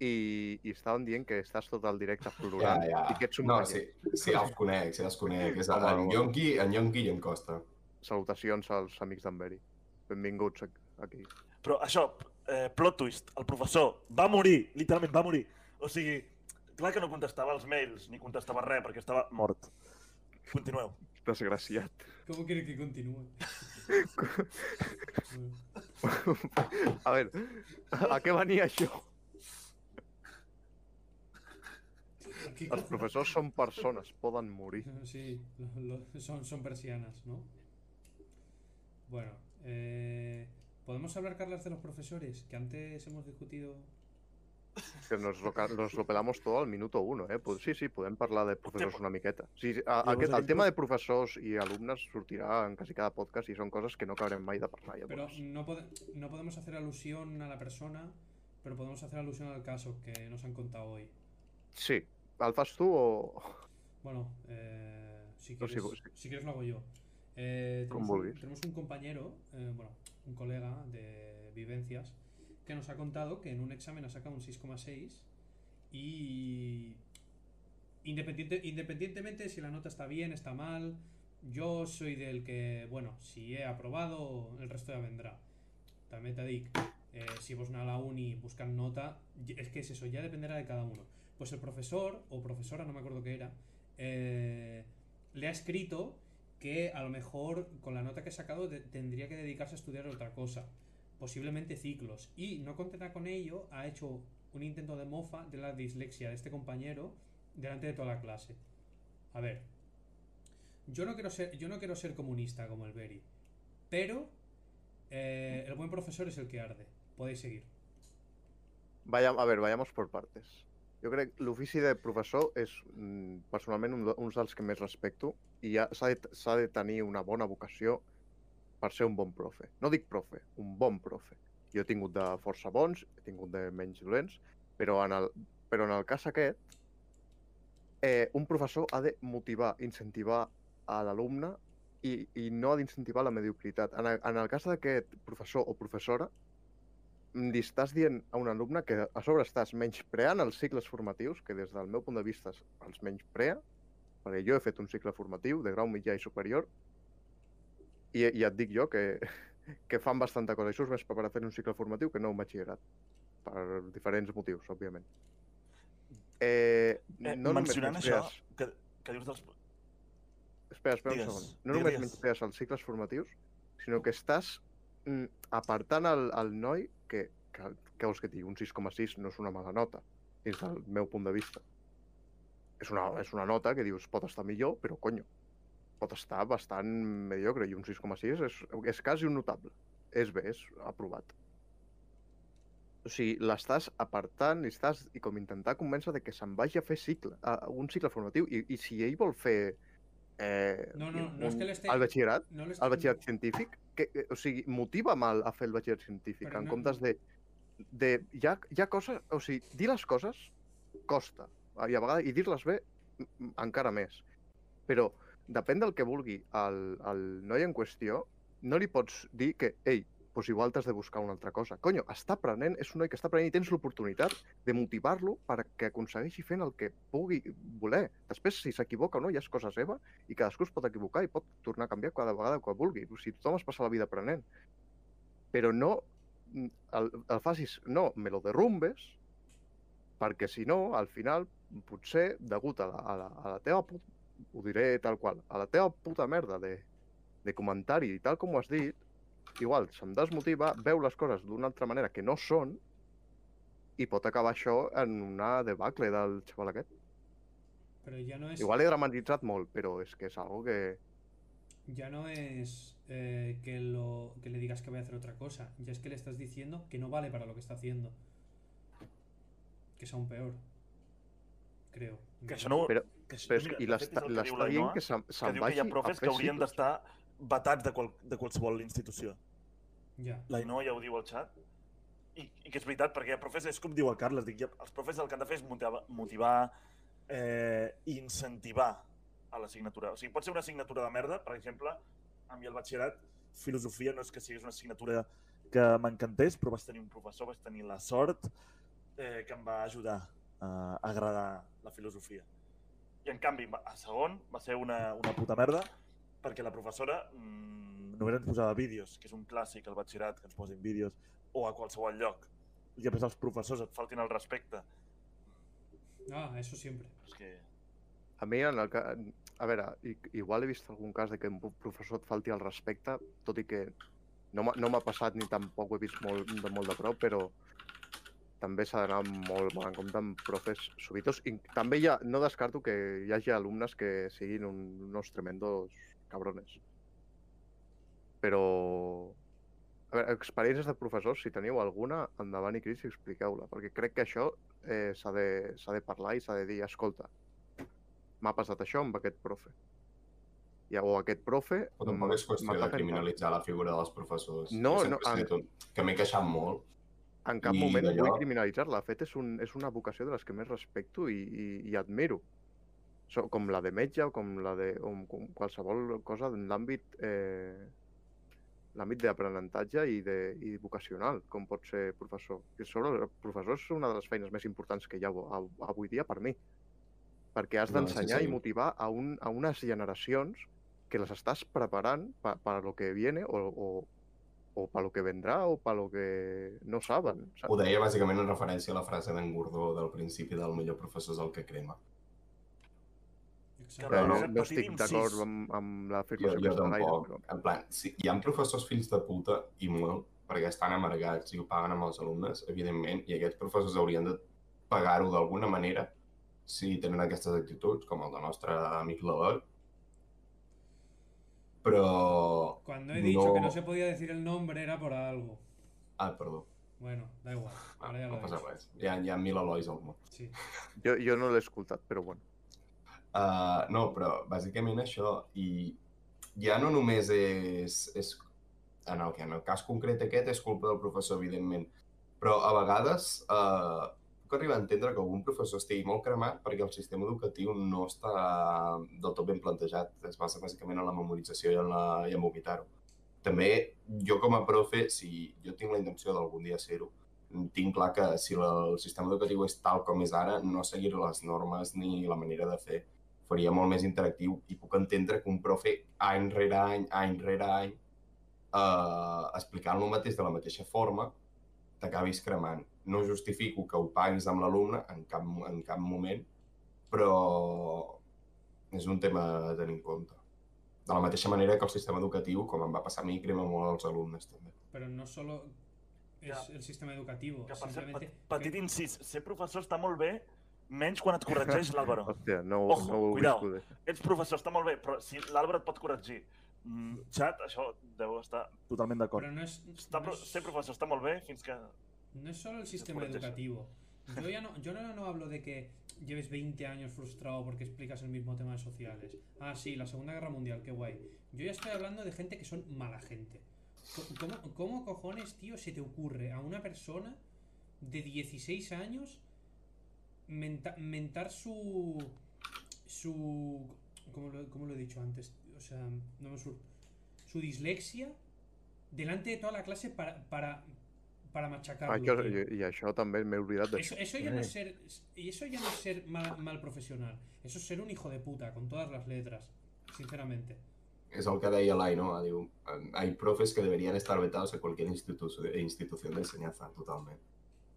A: i, i estaven dient que estàs tot el directe
B: Ja,
A: florant
B: ja.
A: i que ets un
B: No,
A: paller.
B: sí, sí, els conec, sí, els conec. És
A: Home,
B: en
A: home.
B: Yonki, en Yonki i en Costa.
A: Salutacions als amics d'en Beri. Benvinguts a- aquí.
D: Però això, eh, plot twist, el professor va morir, literalment va morir. O sigui, clar que no contestava els mails, ni contestava res, perquè estava mort. Continueu.
A: Desgraciat.
C: ¿Cómo quieres que continúe? Bueno.
A: A veure, a què venia això?
C: Aquí-
A: Els professors són persones, poden morir.
C: Sí, lo- lo- son, son persianas, ¿no? Bueno, eh, ¿podemos hablar, Carlas, de los profesores? Que antes hemos discutido...
A: Que nos lo, ca- nos lo pelamos todo al minuto uno, eh? Pues sí, sí, podem parlar de professors una miqueta. Sí, sí, a,
D: Llavors,
A: aquest, el
D: aquell
A: tema de professors i alumnes sortirà en quasi cada podcast i són coses que no acabarem mai de parlar,
C: Pero
A: llavors.
C: no, pode- no podemos hacer alusión a la persona, pero podemos hacer alusión al caso que nos han contado hoy.
A: Sí, el fas tu o...
C: Bueno, eh, si,
A: Pues
C: quieres,
A: sí, pues
C: si quieres lo hago yo. Eh,
A: Como
C: tenemos, un,
A: vulguis.
C: tenemos un compañero, eh, bueno, un colega de vivencias, que nos ha contado que en un examen ha sacado un 6,6 y independiente, independientemente de si la nota está bien, está mal, yo soy del que, bueno, si he aprobado, el resto ya vendrá. També t'he dic, eh, si vos a la uni buscan nota, y- es que es eso, ya dependerá de cada uno. Pues el profesor o profesora, no me acuerdo qué era, eh, le ha escrito que a lo mejor con la nota que ha sacado te- tendría que dedicarse a estudiar otra cosa, posiblemente ciclos. Y no contenta con ello, ha hecho un intento de mofa de la dislexia de este compañero delante de toda la clase. A ver, yo no quiero ser, yo no quiero ser comunista como el Berry, pero eh, el buen profesor es el que arde. Podéis seguir.
A: Vaya, a ver, vayamos por partes. Jo crec que l'ofici de professor és mm, personalment un, de- uns dels que més respecto i ja s'ha de, s'ha de tenir una bona vocació per ser un bon profe. No dic profe, un bon profe. Jo he tingut de força bons, he tingut de menys dolents, però en el, però en el cas aquest, eh, un professor ha de motivar, incentivar a l'alumne i, i no ha d'incentivar la mediocritat. En, el- en el cas d'aquest professor o professora, mm, li estàs dient a un alumne que a sobre estàs menyspreant els cicles formatius, que des del meu punt de vista es- els menysprea, perquè jo he fet un cicle formatiu de grau mitjà i superior, i, i et dic jo que, que fan bastanta cosa. I surts més preparat fent un cicle formatiu que no un batxillerat, per diferents motius, òbviament. Eh,
D: Eh,
A: no només
D: mencionant això,
A: menysprees-
D: que, que dius dels...
A: Espera, espera
D: Digues,
A: un segon. No
D: digues,
A: només
D: digues.
A: menysprees els cicles formatius, sinó que estàs mm, apartant el, el noi que, que, que vols que et digui, un 6,6 no és una mala nota, des del meu punt de vista. És una, és una nota que dius, pot estar millor, però conyo, pot estar bastant mediocre, i un 6,6 és, és quasi un notable. És bé, és aprovat. O sigui, l'estàs apartant i estàs i com intentar convèncer de que se'n vagi a fer cicle, a, a un cicle formatiu. I, I si ell vol fer eh,
C: No, no, no és que l'este-
A: el batxillerat,
C: No les-
A: el batxillerat científic, que, que, o sigui, motiva mal a fer el batxillerat científic,
C: Però
A: en
C: no-
A: comptes de... de hi, ha, hi ha coses... O sigui, dir les coses costa, i a vegades, i dir-les bé m- m- encara més. Però depèn del que vulgui el, el noi en qüestió, no li pots dir que, ei, doncs igual t'has de buscar una altra cosa. Conyo, està aprenent, és un noi que està aprenent i tens l'oportunitat de motivar-lo perquè aconsegueixi fent el que pugui voler. Després, si s'equivoca o no, ja és cosa seva i cadascú es pot equivocar i pot tornar a canviar cada vegada que vulgui. O sigui, tothom es passa la vida aprenent. Però no mm, el, el facis, no, me lo derrumbes, perquè si no, al final, potser, degut a la, a la, a la teva puta, ho diré tal qual, a la teva puta merda de, de comentari i tal com ho has dit, igual se'm desmotiva, veu les coses d'una altra manera que no són i pot acabar això en una debacle del xaval aquest.
C: Pero ya no es,
A: Igual he dramatitzat molt, però és que és algo que...
C: ya no es eh, que, lo, que le digas que voy a hacer otra cosa. Ya es que le estás diciendo que no vale para lo que está haciendo. Que es aún peor. Creo.
D: Que això no... ho-
A: Però-
D: que això-
A: Però és,
D: mira,
A: que- I
D: de fet, és
A: l'està
D: el que diu
A: l'està
D: la
A: dient
D: Ainhoa,
A: que se'n
D: que
A: se
D: diu que hi
A: vagi
D: ha
A: a
D: profes
A: fer
D: que haurien
A: cicles.
D: d'estar vetats de, qual, de qualsevol institució.
C: Ya.
D: La Ainhoa ja ho diu al xat. I, I que és veritat, perquè hi ha profes, és com diu el Carles, dic, hi ha- els profes el que han de fer és motivar, motivar eh, i incentivar a l'assignatura. O sigui, pot ser una assignatura de merda, per exemple, a mi al batxillerat, filosofia no és que sigués una assignatura que m'encantés, però vaig tenir un professor, vaig tenir la sort eh, que em va ajudar a agradar la filosofia. I en canvi, a segon, va ser una, una puta merda, perquè la professora mm, només ens posava vídeos, que és un clàssic al batxillerat, que ens posin vídeos, o a qualsevol lloc. I després els professors et faltin el respecte.
C: Ah, eso siempre.
D: És que...
A: A mi, en el ca... a veure, i- igual he vist algun cas de que un professor et falti el respecte, tot i que no m'ha no m'ha passat ni tampoc ho he vist molt de, molt de prop, però també s'ha d'anar molt, molt en compte amb profes subitos. I també hi ha, no descarto que hi hagi alumnes que siguin un, uns tremendos cabrones. Però... A veure, experiències de professors, si teniu alguna, endavant i crits i expliqueu-la, perquè crec que això eh, s'ha de, s'ha de parlar i s'ha de dir, escolta, m'ha passat això amb aquest profe. I, o aquest profe...
B: Però tampoc és qüestió
A: m'està
B: de
A: fent tal.
B: criminalitzar la figura dels professors.
A: Mm, No,
B: Jo sempre
A: no,
B: he estat un- Que m'he queixat molt.
A: En cap
B: I
A: moment
B: d'allò-
A: vull criminalitzar-la. De fet, és, un, és una vocació de les que més respecto i, i, i admiro. So, com la de metge o com la de o com qualsevol cosa en l'àmbit eh, l'àmbit d'aprenentatge i, de, i vocacional, com pot ser professor. I a sobre, el professor és una de les feines més importants que hi ha av- av- avui dia per mi, perquè has
B: No, sí,
A: d'ensenyar
B: sí.
A: i motivar a, un, a unes generacions que les estàs preparant per, per a lo que viene o, o, o para lo que vendrá o para lo que no saben.
B: Ho
A: ¿sabes?
B: deia bàsicament en referència a la frase d'en Gordó del principi del millor professor és el que crema.
C: Exacte.
A: Però
B: Però
A: no,
D: no,
A: no
D: patim
A: estic d'acord
D: sis.
A: amb, amb
B: Jo,
A: l'afirmació que
B: jo
A: està gaire.
B: tampoc.
A: Però...
B: En plan, sí, hi ha professors fills de puta, i molt, perquè estan amargats i ho paguen amb els alumnes, evidentment, i aquests professors haurien de pagar-ho d'alguna manera si tenen aquestes actituds, com el del nostre amic Label. Però...
C: Cuando he dicho que no
B: No.
C: se podía decir el nombre era por algo.
B: Ah, perdó.
C: Bueno, da igual.
B: Ah,
C: Ahora ya
B: no
C: lo he
B: passa
C: dicho.
B: res. Hi ha, hi ha mil Elois al món.
C: Sí.
A: Jo, jo no l'he escoltat, però bueno.
B: Uh, no, però bàsicament això, i ja no només és, és en, el, que en el cas concret aquest és culpa del professor, evidentment, però a vegades uh, puc arribar a entendre que algun professor estigui molt cremat perquè el sistema educatiu no està del tot ben plantejat, es basa bàsicament en la memorització i en, la, i en vomitar-ho. També, jo com a profe, si jo tinc la intenció d'algun dia ser-ho, tinc clar que si la, el sistema educatiu és tal com és ara, no seguiré les normes ni la manera de fer faria molt més interactiu i puc entendre que un profe any rere any, any rere any, eh, explicant lo mateix de la mateixa forma, t'acabis cremant. No justifico que ho paguis amb l'alumne en, cap, mo- en cap moment, però és un tema a tenir en compte. De la mateixa manera que el sistema educatiu, com em va passar a mi, crema molt els alumnes també.
C: Pero no solo es
D: Ya.
C: el sistema educativo.
D: Que per cert,
C: simplemente
D: pe- petit incís, ser professor està molt bé, menys quan et corregeix l'Àlvaro.
A: Hòstia, no,
D: Ojo,
A: no ho
D: cuidao.
A: viscude.
D: Ets professor, està molt bé, però si l'Àlvaro et pot corregir, mm, xat, això deu estar totalment
C: Pero
D: d'acord.
C: no es,
D: Està,
C: no
D: pro-
C: es-
D: ser professor està molt bé fins que...
C: no es solo el sistema
D: correcto.
C: educativo. Yo ya no, yo ahora no hablo de que lleves 20 años frustrado porque explicas el mismo tema de sociales. Ah, sí, la Segunda Guerra Mundial, qué guay. Yo ya estoy hablando de gente que son mala gente. Co- ¿Cómo, cómo cojones, tío, se te ocurre a una persona de 16 años menta- mentar su. su. ¿cómo lo, cómo lo he dicho antes? O sea, no me sur Su dislexia delante de toda la clase para. para. para machacarlo.
A: Ah, això,
C: tío.
A: i, I això també m'he oblidat
C: Eso,
A: d'això.
C: eso ya no es ser, y eso ya no es ser mal, mal profesional. Eso es ser un hijo de puta, con todas las letras. Sinceramente.
B: És el que deia l'Ainoa, diu, hay profes que deberían estar vetados a cualquier institu eh, institució d'ensenyança, totalment.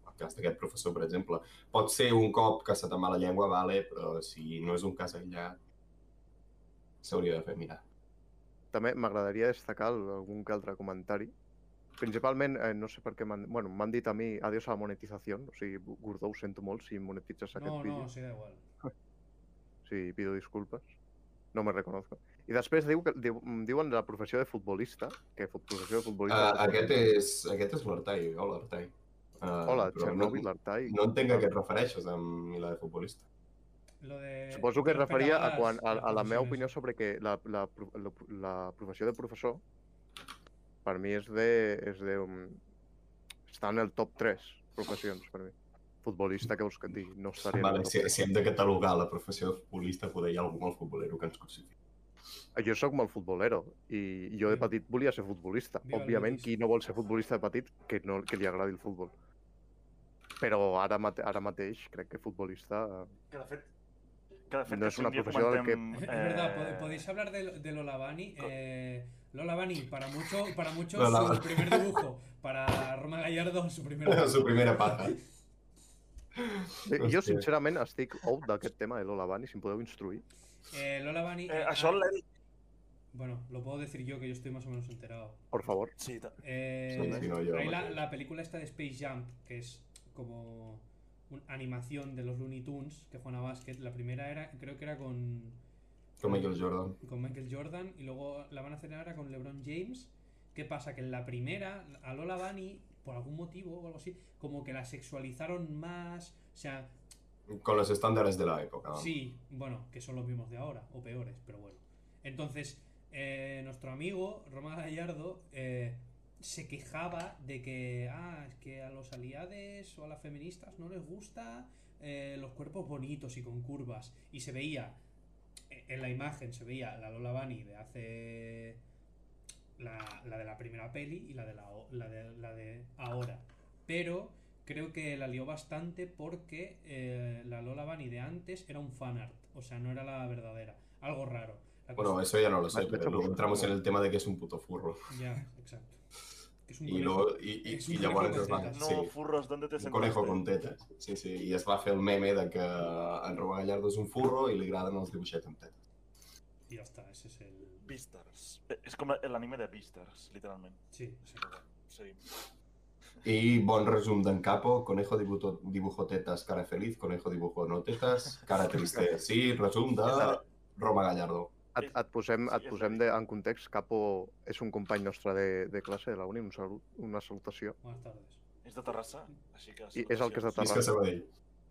B: El cas d'aquest professor, per exemple, pot ser un cop que se te'n va la llengua, vale, però si no és un cas aïllat, s'hauria de fer mirar.
A: També m'agradaria destacar algun que altre comentari. Principalment, eh, no sé per què m'han... Bueno, m'han dit a mi adiós a la monetització. O sigui, Gordó, ho sento molt si monetitzes aquest
C: No,
A: vídeo.
C: no, sí, da igual.
A: Sí, pido disculpes. No me reconozco. I després diu que diu, mm, diuen la professió de futbolista, que fut, professió de
B: Uh,
A: futbolista...
B: aquest és, aquest és l'Artai, hola Artai. Uh,
A: Hola,
B: però
A: Txernòbil,
B: no,
A: l'Artai...
B: no entenc a què et refereixes amb Mila de futbolista.
C: Lo de,
A: Suposo que es
C: lo de
A: referia a,
C: pedagogas,
A: quan, a,
C: las
A: a la meva opinió
C: profesiones.
A: sobre que la, la, pro- la, la professió de professor per mi és de... És de um, està en el top 3 professions per mi. Futbolista, que vols que et digui? No estaria en
B: Vale,
A: el top
B: si,
A: 3.
B: si hem de catalogar la professió de futbolista, poder hi ha algú molt futbolero que ens crucifiqui.
A: Jo sóc molt futbolero i jo de
C: Viva-
A: petit volia ser futbolista.
C: viva el
A: Òbviament,
C: Betis.
A: qui no vol ser futbolista de petit, que, no, que li agradi el futbol. Però ara, mate ara mateix crec que futbolista...
D: Que de fet... Que de fet
A: No
D: que
A: és
D: si
A: una
D: un dia
A: professió del que-
D: comentem,
C: Es
D: eh,
C: verdad, pod- podéis hablar de, lo- de Lola Bunny. Eh, Lola Bunny, para mucho, para muchos
B: Lola
C: su
B: Bunny.
C: primer dibujo. Para Roma Gallardo, su primer
B: La
C: dibujo.
B: seva primera paja.
A: Eh, Jo,
B: Hòstia.
A: sincerament, estic out d'aquest tema de Lola Bunny, si em podeu instruir.
C: Eh, Lola Bunny.
D: Eh,
C: eh,
D: això
C: ah,
D: l'Eric...
C: Bueno, lo puedo decir yo que yo estoy más o menos enterado.
A: Por favor.
D: Sí, ta-
C: Eh,
B: Sí, sí, no, yo
C: ahí la,
B: mateix.
C: la película esta de Space Jump, que es como una animación de los Looney Tunes, que fue una básquet. La primera era, creo que era con,
A: Mm.
B: Com Michael Jordan.
C: con Michael Jordan y luego la van a hacer ahora con LeBron James. ¿Qué pasa? Que en la primera, a Lola Bunny, por algún motivo o algo así, como que la sexualizaron más. O sea,
B: Con los estándares de la doncs. época. vamos.
C: Sí, bueno, que son los mismos de ahora, o peores, pero bueno. Entonces, eh, nuestro amigo Roma Gallardo eh, se quejaba de que, ah, es que a los aliades o a las feministas no les gusta eh, los cuerpos bonitos y con curvas. Y se veía, eh, en la imagen se veía la Lola Bunny de hace... La, la de la primera peli y la de, la, o- la de, la de ahora. Pero creo que la lió bastante porque eh, la Lola Bunny de antes era un fanart, o sea, no era la verdadera. Algo raro. La
B: Bueno,
C: cosa-
B: eso ya no lo sé,
A: Vale,
B: pero
A: somos-
B: luego entramos en el tema de que es un puto furro.
C: Ya, exacto. que es un
B: I,
C: conejo.
B: lo, i, i,
C: És un
B: i llavors
C: conejo
B: es va...
C: con
D: No,
B: Sí,
D: furros, ¿dónde te
B: un
D: sentaste?
B: conejo con tetes. Sí, sí, i es va fer el meme de que en Rubén Gallardo és un furro i li agraden els dibuixets amb tetes.
C: Y ya está, ese es el.
D: Beastars. Eh, És com el anime de Beastars, literalment.
C: Sí.
D: Sí, però, seguim.
B: I bon resum d'en Capo, conejo dibujo, dibujo tetas, cara feliz, conejo dibujo no tetas, cara triste. Sí, resum de Roma Gallardo.
A: Et, et posem,
D: Sí,
A: et
D: és
A: posem de, en context, Capo és un company nostre de, de classe de la uni, un salut, una salutació.
C: Buenas tardes.
D: És de Terrassa, així que...
A: I és el que és de
B: Visca
A: Terrassa.
B: Sabadell.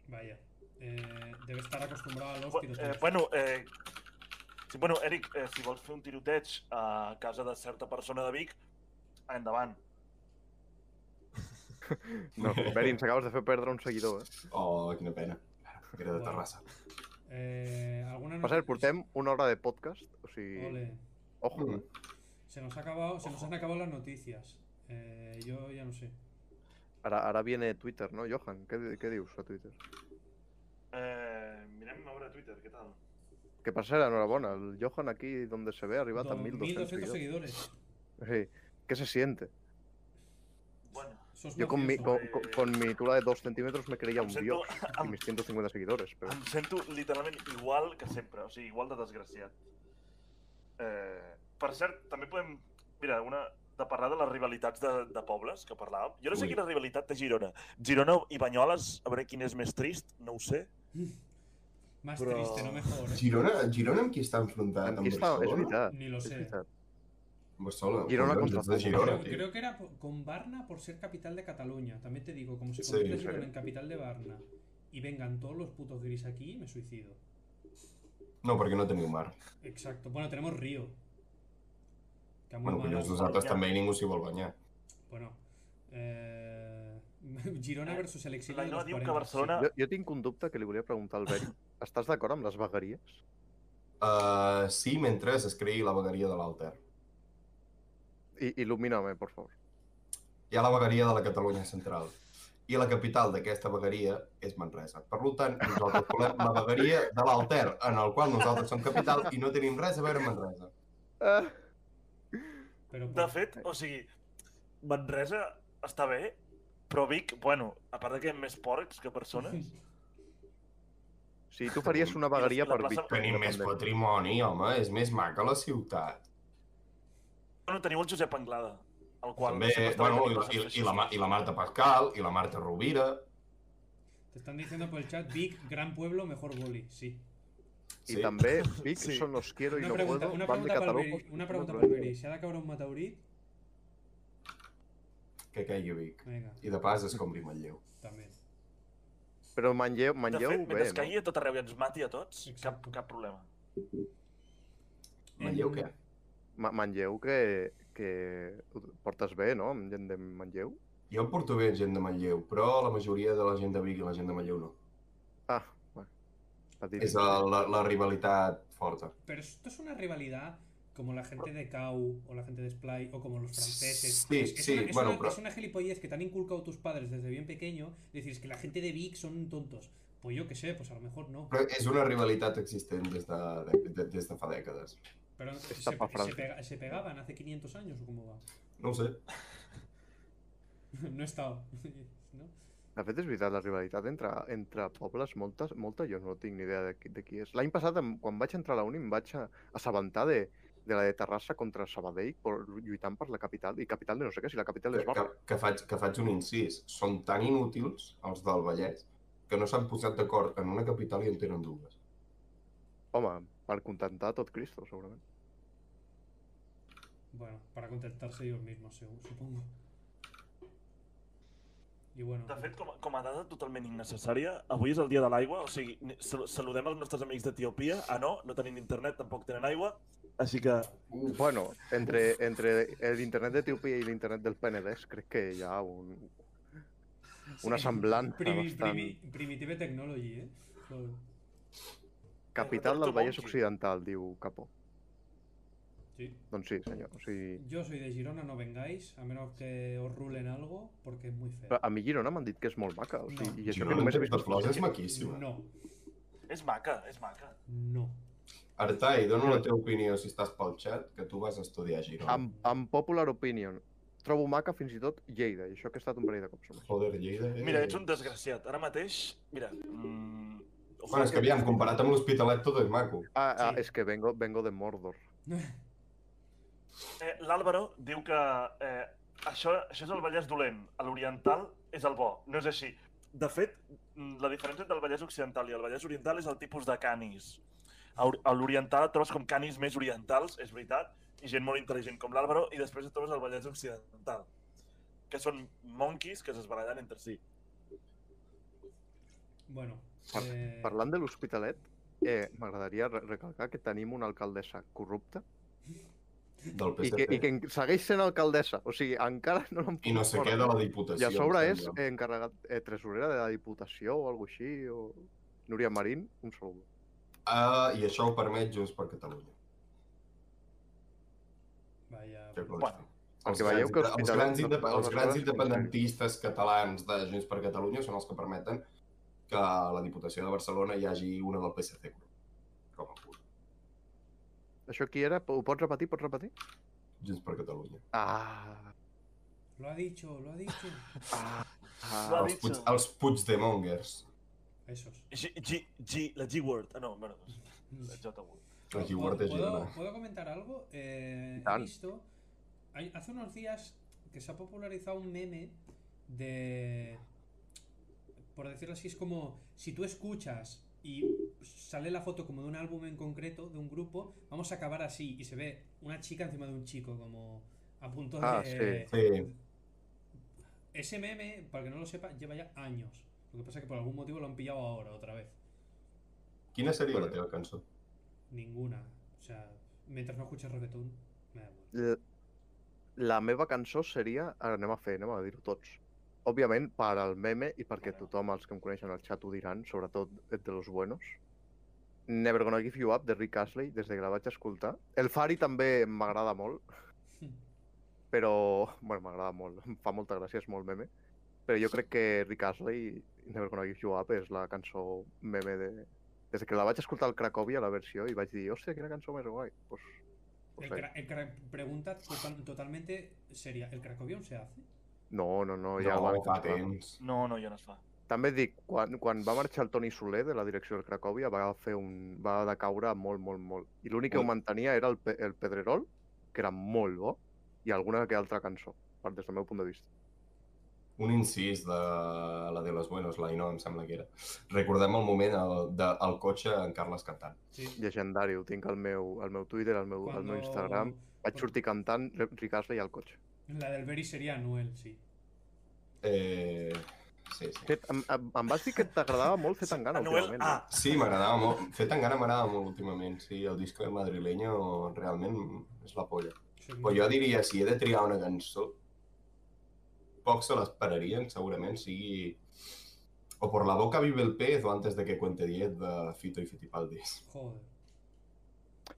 C: Vaya. Eh, debe estar acostumbrado a los
D: Bu- Eh,
C: tiroteos.
D: bueno, eh, sí, bueno, Eric, eh, si vols fer un tiroteig a casa de certa persona de Vic, endavant.
A: No, Berin, s'acabes de fer perdre un seguidor, eh?
B: Oh, quina pena. Era de Terrassa.
C: Eh, ¿Alguna
A: Per cert,
C: noticia?
A: portem una hora de podcast, o sigui...
C: Ole.
A: Ojo, eh?
C: Se nos, ha acabado, se nos han acabado las noticias. Eh, yo ya no sé.
A: Ara, ara viene Twitter, no, Johan? Què, di- què dius a Twitter?
D: Eh, mirem a veure Twitter, què tal?
A: Que per cert, enhorabona, el Johan aquí, donde se ve, ha arribat a 1.200
C: 2.200
A: seguidors.
C: seguidores.
A: Sí. ¿Qué se siente?
D: Bueno,
C: Sos
A: Yo con mi,
C: mafioso.
A: con, con- con mi altura de 2 centímetros me creía
D: em
A: un
D: sento,
A: dios y mis 150 seguidores, pero...
D: em sento literalment igual que sempre, o sigui, igual de desgraciat. Eh, per cert, també podem... Mira, una de parlar de les rivalitats de, de pobles que parlàvem. Jo no sé
B: Ui.
D: quina rivalitat té Girona. Girona i Banyoles, a veure quin és més trist, no ho sé.
C: Más
D: Pero-
C: triste, no mejor. ¿eh?
B: Girona, Girona amb qui està enfrontat?
A: Aquí està, és veritat,
C: Ni lo
A: és
C: sé.
A: veritat.
B: Barcelona.
A: Girona
B: collons,
A: contra
B: ets de Girona,
C: Creo,
B: tio.
C: creo que era po- con Varna por ser capital de Cataluña. También te digo, como se
B: Sí,
C: convierte
B: sí.
C: Girona en capital de Varna y vengan todos los putos gris aquí, me suicido.
B: No, perquè no teniu mar.
C: Exacto. Bueno, tenemos Río. Que a muy
B: Bueno, pues
C: malas-
B: collons, nosaltres també i ningú s'hi vol guanyar.
C: Bueno, eh, Girona
D: Eh,
C: versus el exilio
D: La
C: de
D: Inova
C: los
D: diu que
C: 40,
D: Barcelona...
A: Jo, jo tinc un dubte que li volia preguntar al Beri. Estàs d'acord amb les vegueries?
B: Uh, sí, mentre es creï la vegueria de l'Alter.
A: I, il·lumina-me, por favor.
B: Hi ha la vegueria de la Catalunya Central. I la capital d'aquesta vegueria és Manresa. Per lo tant, nosaltres volem la vegueria de l'Alter, en el qual nosaltres som capital i no tenim res a veure amb Manresa.
A: Ah,
C: sí. Pero
D: De
C: por-
D: fet, o sigui, Manresa està bé, però Vic, bueno, a part de que hi ha més porcs que persones,
A: sí, tu faries una vegueria
D: I la
A: per
D: plaça-
A: Vic.
B: Tenim més patrimoni, home, és més maca la ciutat.
D: bueno, teniu el Josep Anglada, el qual...
B: També,
D: sempre està
B: bueno,
D: bé
B: i,
D: tenir
B: la- i,
D: persones
B: i, la, Ma- i la Marta Pascal, i la Marta Rovira.
C: Te están diciendo por el chat, Vic, gran pueblo, mejor boli. Sí.
A: I també Vic,
D: Sí.
A: són los quiero y
C: Una
A: no
C: pregunta,
A: puedo,
C: una
A: van de
C: pregunta para
A: catalogos.
C: Beri. Una pregunta
A: No,
C: para
A: no.
C: Beri. ¿Se ha de cabrón un mataurí?
B: Que caigui Vic.
C: Venga,
B: I de pas es compri Manlleu.
C: también.
A: Però Manlleu,
D: De
A: Manlleu
D: fet, mentre
A: bé,
D: es caigui a tot arreu i ens mati a tots, cap,
C: Exacte.
D: cap problema.
C: Eh,
B: Manlleu què?
A: no? Ma- Manlleu que, que ho portes bé, no? Amb gent de Manlleu?
B: Jo em porto bé amb gent de Manlleu, però la majoria de la gent de Vic i la gent de Manlleu no.
A: Ah, bueno. Petit.
B: És el- la, la rivalitat forta.
C: Pero esto es una rivalidad como la gente de Cau o la gente de Splay o como los franceses.
B: Sí,
C: es, es
B: sí,
C: una, es
B: bueno,
C: una-
B: pero-
C: es una gilipollez que te han inculcado tus padres desde bien pequeño. Decir, es que la gente de Vic son tontos. Pues yo qué sé, pues a lo mejor no.
B: Però és una rivalitat existent des de, de, de, des de fa dècades.
C: Pero se,
A: Está pa'
C: se
A: Francia.
C: pega- se pegaban hace 500 años o cómo va.
B: No ho sé.
C: no he estado. ¿No?
A: De fet, és veritat, la rivalitat entre, entre pobles, moltes, molta jo no tinc ni idea de qui, de qui és. L'any passat, em- quan vaig entrar a la uni, em vaig a- assabentar de, de la de Terrassa contra Sabadell per, lluitant per la capital, i capital de no sé què, si la capital
B: Que,
A: és Barra.
B: que, que, faig, que faig un incís. Són tan inútils, els del Vallès, que no s'han posat d'acord en una capital i en tenen dues.
A: Home, per contentar tot Cristo, segurament.
C: Bueno, para contentarse ellos mismos, segu- supongo. Y bueno,
D: De fet, com, a- com a dada totalment innecessària, avui és el dia de l'aigua, o sigui, ni- sal- saludem els nostres amics d'Etiòpia. Ah, no, no tenim internet, tampoc tenen aigua, així que...
B: Uf,
A: Bueno, entre, entre l'internet d'Etiopia i l'internet del Penedès, crec que hi ha un, una semblança
C: pues, Primi-
A: bastant.
C: primi- Primitive Technology, ¿eh? Joder.
A: Capital del Vallès Occidental, diu Capó.
C: Sí.
A: Doncs sí, senyor. O sigui,
C: Yo soy de Girona, no vengáis, a menos que os rulen algo, porque es muy feo.
A: però a mi Girona m'han dit que és molt maca. O sigui,
C: No.
A: I això
B: Girona
A: que només
B: en
A: he vist
B: temps de flors és maquíssima. No.
C: No,
D: És maca, és maca.
C: no.
B: Artai, dona la teva opinió si estàs pel xat, que tu vas estudiar a Girona.
A: En, en popular opinion, trobo maca fins i tot Lleida, i això que he estat un parell de cops. només.
B: Joder, Lleida... eh?
D: Mira, ets un desgraciat. Ara mateix, mira... Mm,
B: Bueno, és que aviam, comparat amb l'Hospitalet tot és maco.
A: Ah, ah,
D: Sí.
A: és que vengo, vengo de Mordor.
D: Eh, L'Àlvaro diu que eh, això, això és el Vallès dolent, a l'Oriental és el bo. No és així. De fet, mm, la diferència entre el Vallès Occidental i el Vallès Oriental és el tipus de canis. A Or- a l'Oriental et trobes com canis més orientals, és veritat, i gent molt intel·ligent com l'Àlvaro, i després et trobes el Vallès Occidental, que són monquis que s'esbarallen entre si.
C: Bueno,
A: Par-
C: eh,
A: Parlant de l'Hospitalet, eh, m'agradaria re- recalcar que tenim una alcaldessa corrupta
B: Del
A: i que,
B: PSC.
A: i que en- segueix sent alcaldessa. O sigui, encara no l'han
B: I no sé què de la Diputació.
A: I a sobre
B: em
A: és
B: sembla.
A: eh, encarregat eh, tresorera de la Diputació o alguna així, o... Núria Marín, un saludo.
B: Ah, I això ho permet Junts per Catalunya.
C: Vaya, pues,
B: Que consti.
D: Bueno,
B: Els
A: perquè veieu
B: grans
A: que
B: inde- els
A: Hospitalet
B: grans,
A: no-
B: indep-
A: no
B: els
A: fa
B: grans
A: res,
B: independentistes catalans de Junts per Catalunya són els que permeten que a la Diputació de Barcelona hi hagi una del PSC. Com a punt.
A: Això qui era? Ho pots repetir? Pots repetir?
B: Junts per Catalunya.
A: Ah,
C: lo ha dicho, lo ha dicho.
A: ah,
D: Va,
A: ah.
D: bé.
B: Els, Puig, els Puigdemongers.
C: Esos.
D: G, G, G, la G-word. Ah, no, bueno, la J word.
B: Aquí
C: ¿Puedo,
B: guarda
C: ¿puedo,
B: Girona.
C: puedo comentar algo? Eh, he
A: Claro.
C: visto. hay- hace unos días que se ha popularizado un meme de. Por decirlo así, es como si tú escuchas y sale la foto como de un álbum en concreto, de un grupo, vamos a acabar así. Y se ve una chica encima de un chico, como a punto
A: Ah,
C: de.
B: Sí.
C: Ese meme, para que no lo sepa, lleva ya años. Lo que pasa es que por algún motivo lo han pillado ahora otra vez.
B: Quina seria la teva cançó?
C: Ninguna. O sea, mientras no escuches reggaetón, me da igual.
A: L- La meva cançó seria... Ara anem a fer, anem a dir-ho tots. Òbviament, per al meme i perquè tothom, els que em coneixen al xat, ho diran, sobretot de los buenos. Never Gonna Give You Up, de Rick Astley, des de que la vaig escoltar. El Fari també m'agrada molt,
C: Hmm.
A: però bueno, m'agrada molt, em fa molta gràcia, és molt meme. Però jo crec que Rick Astley, Never Gonna Give You Up, és la cançó meme de... Des que la vaig escoltar al Cracòvia, la versió, i vaig dir, hòstia, quina cançó més guai. Pues,
C: El
A: pues ahí.
C: cra- el cra- pregunta total- totalmente seria, ¿el cracovión se hace?
A: No, no, no, Oh, ja
B: no,
A: va.
B: fa
A: acabar.
B: temps.
D: No, no, ja no es fa.
A: També et dic, quan, quan va marxar el Toni Soler de la direcció del Cracòvia va fer un... va decaure molt, molt, molt. I l'únic que ho
B: Ui.
A: mantenia era el, Pe- el Pedrerol, que era molt bo, i alguna que altra cançó, per- des del meu punt de vista.
B: un incís de la de los buenos, la Ino, em sembla que era. Recordem el moment el, de, el cotxe en Carles cantant.
C: Sí.
A: Llegendari, ho tinc al meu, al meu Twitter, al meu, al meu Instagram. Vaig sortir cantant Rick Astley al cotxe.
C: La del Berry sería Anuel, sí.
B: Eh... Sí, sí.
A: Fet, em, em, em vas dir que t'agradava molt fer tan gana
D: Anuel ah,
A: últimament.
D: A.
A: eh?
B: Sí, m'agradava molt. Fet encara m'agradava molt últimament. Sí, el disc madrileño realment és la polla.
C: Soy
B: Però
D: Pues
C: muy-
B: jo diria, si he de triar una cançó, pocs se l'esperarien, segurament, sigui... O por la boca vive el pez o antes de que cuente 10 de Fito i Fitipaldis.
C: Joder.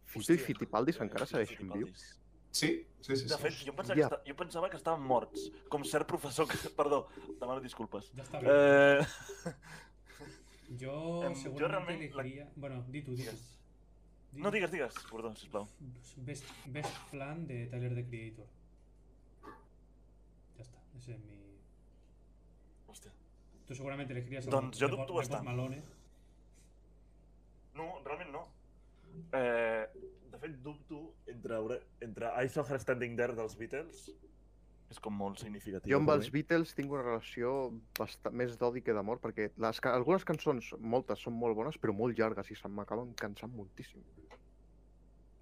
A: Fito i
D: Hòstia.
A: Fitipaldis encara
D: Fito i
A: segueixen
D: Eh, Fittipaldis.
B: Sí, sí, sí.
D: De
B: sí.
D: fet, jo pensava,
A: Ja.
D: que, esta- jo pensava que estaven morts, com cert professor que... Perdó, demano disculpes.
C: Ya está bien.
D: Eh...
C: yo
D: em, yo
C: seguramente
D: realmente la-
C: elegiría- Bueno, di tú, di tú.
D: Digues.
C: Di-
D: No digues, digues, perdó, sisplau.
C: Best, best plan de Tyler, the Creator. Ya está, ese es mi...
D: Hòstia.
C: Tú seguramente elegirías a
D: Doncs jo
C: de Bo-
D: dubto
C: de Post
D: bastant.
C: Malone.
D: No, realment no. Eh, de fet, dubto entre, Aure- entre I Saw Her Standing There dels Beatles, és com molt significatiu.
A: Jo amb
D: per
A: els
D: mi.
A: Beatles tinc una relació bastant més d'odi que d'amor, perquè les, ca- algunes cançons, moltes, són molt bones, però molt llargues i se m'acaben cansant moltíssim.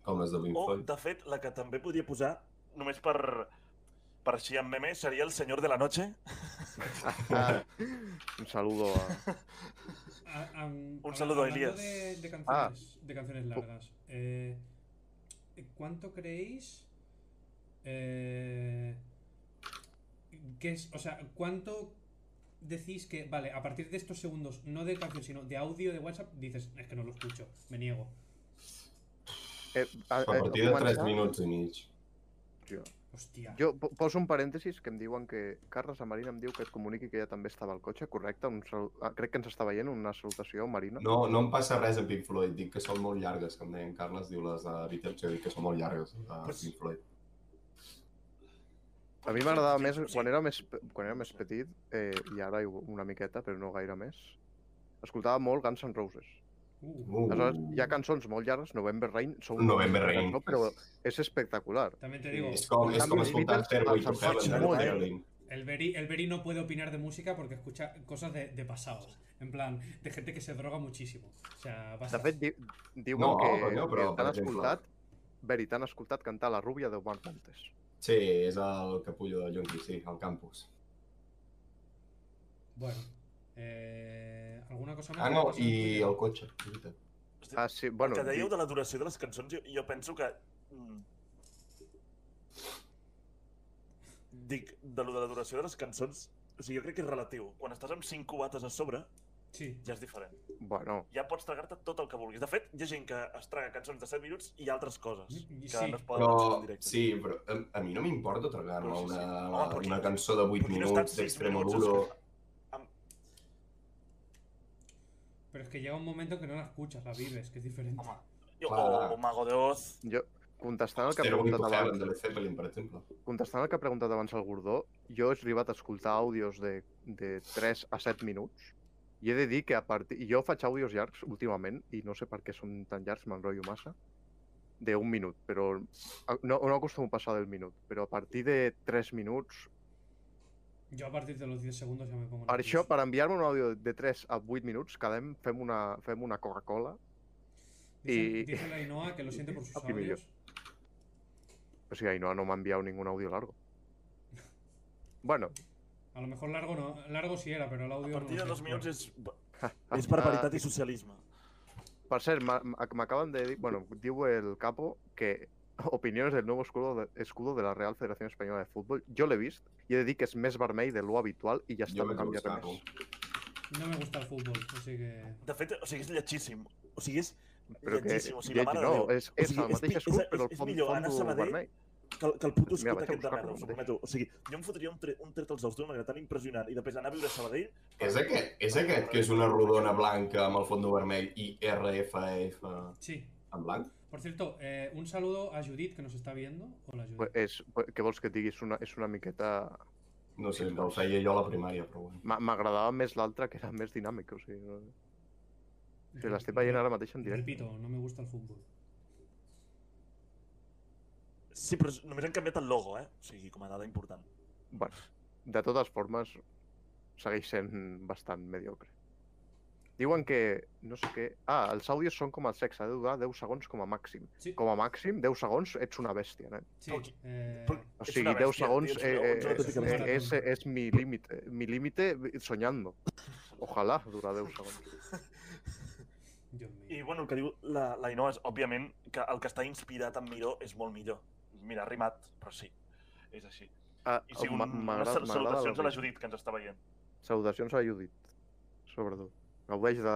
B: Com les de Pink
D: O,
B: Floyd.
D: de fet, la que també podria posar, només per, per així en meme, seria El Senyor de la Noche,
A: Ah, un saludo a...
C: A- am- habla-
D: saludo a
C: hablando
D: Elías.
C: De, de canciones,
A: Ah.
C: de canciones largas. eh, ¿Cuánto creéis? eh, que es, o sea, ¿cuánto decís que, vale, a partir de estos segundos, no de canción, sino de audio de WhatsApp, dices, es que no lo escucho, me niego.
A: Eh, a,
B: A partir de 3 minuts i mig.
C: Hostia.
A: Jo po- poso un parèntesis que em diuen que Carles, la Marina em diu que et comuniqui que ella també estava al cotxe, correcte? Un sal... ah, Crec que ens està veient una salutació, Marina.
B: No, no em passa res amb Pink Floyd, dic que són molt llargues, que em deien Carles, diu les de Beatles, jo dic que són molt llargues, les de
D: Pues-
B: Pink Floyd.
A: A mi m'agradava més,
D: Sí.
A: quan era més, pe- quan era més petit, eh, i ara igu- una miqueta, però no gaire més, escoltava molt Guns N' Roses.
C: Uh,
B: Uh,
A: Aleshores, hi ha cançons molt llargues, November Rain, són
B: November Rain.
A: No, però és espectacular.
C: també te digo,
B: És com, és com
A: Canvis
B: escoltar
A: límits
B: Stairway
A: als
B: to
A: acords,
B: Heaven
D: molt
B: de
D: bé.
B: Caroline.
C: el Berry, el Berry no puede opinar de música porque escucha cosas de, de pasados. En plan, de gente que se droga muchísimo. O sea,
A: De
C: basta.
A: fet, di diuen
B: No,
A: que,
B: però-
A: que
B: però, per
A: t'han
B: exemple-
A: escoltat, Veri, t'han escoltat cantar La rúbia de Omar Montes.
B: Sí, és el capullo del Junkie, sí, al campus.
C: Bueno. eh, ¿Alguna cosa más?
B: Ah, no, i el cotxe. veritat.
D: Hosti,
A: Ah, sí,
D: el
A: bueno,
D: que dèieu
A: di-
D: de la duració de les cançons, jo, jo penso que... mm, Dic, de lo de la duració de les cançons, o sigui, jo crec que és relatiu. Quan estàs amb 5 cubates a sobre,
C: Sí.
D: ja és diferent.
A: bueno,
D: Ja pots tragar-te tot el que vulguis. De fet, hi ha gent que es traga cançons de 7 minuts i altres coses
C: Mm,
D: que
C: sí.
D: no es poden escoltar
B: Però,
D: en directe.
B: sí, però a, a mi no m'importa tragar-me
D: No, sí, sí.
B: una,
D: Home, però
B: una
D: quin-
B: cançó de 8
D: Però quin ha estat
B: minuts
D: sis
B: d'Extremo
D: minuts
B: Duro.
D: escoltant?
C: Pero es que llega un momento que no la escuchas, la vives, que es diferente.
D: Home, jo,
B: Clar.
D: o, o Mago de Oz,
A: jo, contestant el que ha
B: Stairway
A: preguntat
B: to Heaven
A: abans,
B: de Led Zeppelin, per exemple.
A: contestant el que ha preguntat abans el Gordó, jo he arribat a escoltar àudios de, de 3 a 7 minuts i he de dir que a partir... i Jo faig àudios llargs últimament i no sé per què són tan llargs, m'enrotllo massa, d'un minut, però a- no, no acostumo a passar del minut, però a partir de 3 minuts...
C: Yo a partir de los 10 segundos ya me pongo.
A: Per això,
C: nervioso.
A: per enviar-me un àudio de 3 a 8 minuts, quedem, fem una, fem una Coca-Cola,
C: Dice,
A: y-
C: dice la Ainhoa que lo siente por sus
A: Papi mío.
C: audios.
A: o sigui, Ainhoa no m'ha enviat ningún audio largo. Bueno,
C: A lo mejor largo no, largo sí era, pero el
D: a
C: audio.
D: partir
C: no
D: de
C: lo sé.
D: 2 minuts és, és
A: ah,
D: barbaritat i socialisme.
A: Per cert, m'a- m'a- m'acaben de dir, bueno, diu el capo que opiniones del nuevo escudo de, escudo de la Real Federación Española de Fútbol, jo l'he vist i he de dir que és més vermell de lo habitual i ja està,
B: Jo
A: no
B: vaig
A: canvia res
B: buscar-ho.
A: més.
C: No me gusta el fútbol, así que.
D: De fet, o sigui, és lletgíssim. O sigui, és
A: Però que
D: lletgíssim. O sigui, la
A: lletgi
D: mare de
A: no,
D: Déu.
A: és, és
D: o sigui,
A: el mateix
D: pi-
A: escut,
D: és-
A: però el
D: és
A: font,
D: millor anar a
A: fondo
D: Sabadell
A: vermell.
D: que, el- que el
A: Mira,
D: puto escut
A: vaig a
D: aquest de
A: buscar-lo
D: merda, us ho
A: mateix.
D: prometo. O sigui, jo em fotria un, tre un tret als dels d'una manera tan impressionant i després anar a viure a Sabadell...
B: És aquest, és aquest que és una rodona blanca amb el fondo vermell i RFF
C: Sí.
B: en blanc?
C: Por cierto, eh, un saludo a Judith que nos está viendo. Hola Judith.
A: Pues És, què vols que et digui? És una, és una miqueta...
B: No sé, el feia jo a la primària, però bueno.
A: M'a- M'agradava més l'altra, que era més dinàmic, o sigui... No... Si l'estic veient ara mateix en directe.
C: Repito, no me gusta el fútbol.
D: Sí, però només han canviat el logo, eh? O sigui, com a dada important.
A: Bueno, de totes formes, segueix sent bastant mediocre. Diuen que, no sé què... Ah, els àudios són com el sexe, ha de durar 10 segons com a màxim.
C: Sí,
A: Com a màxim, 10 segons, ets una bèstia, nen.
C: sí.
D: Porque-
C: eh,
D: porque-
A: O
D: Ets
A: sigui,
D: una
A: 10
D: bèstia,
A: segons
D: tio, ets
A: eh,
D: una-
A: eh,
D: ets una
A: eh,
D: autèntica
A: eh,
C: bèstia.
A: és, és mi límite, mi límite soñando. Ojalà durar 10 segons.
C: Dios
A: eh.
C: mío.
D: I, bueno, el que diu la, la Inoa és, òbviament, que el que està inspirat en Miró és molt millor. Mira, ha rimat, però sí. És així.
A: Ah,
D: I sí, un,
A: m'a-
D: unes
A: m'agrada- m'agrada
D: salutacions a la
A: Judit.
D: Judit, que ens està veient.
C: Eh,
A: Salutacions a la Judit, sobretot. Gaudeix de...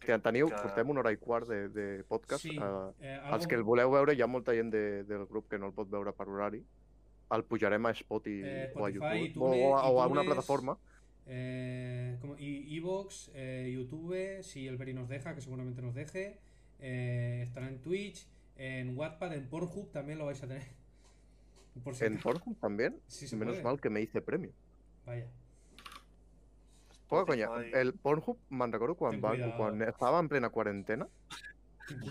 A: Que en teniu,
D: Que-
A: portem una hora i quart de, de podcast.
C: Sí,
A: eh,
C: eh,
A: Els
C: algo-
A: que el voleu veure, hi ha molta gent de, del grup que no el pot veure per horari. El pujarem a Spotify,
C: Eh,
A: o a
C: Spotify,
A: YouTube
C: iTunes,
A: o, a, o a una
C: iTunes.
A: plataforma.
C: eh, como, y Evox, eh, YouTube, si el Beri nos deja, que seguramente nos deje. eh, estará en Twitch, en Wattpad, en Pornhub también lo vais a tener. Por si
A: En
C: acaso.
A: Pornhub también.
C: Sí, se
A: Menos
C: puede.
A: mal que me hice premio.
C: Vaya.
A: Poca conya.
D: Spotify.
A: El Pornhub, me'n recordo quan,
C: Ten
A: va,
C: cuidado.
A: quan estava en plena quarantena,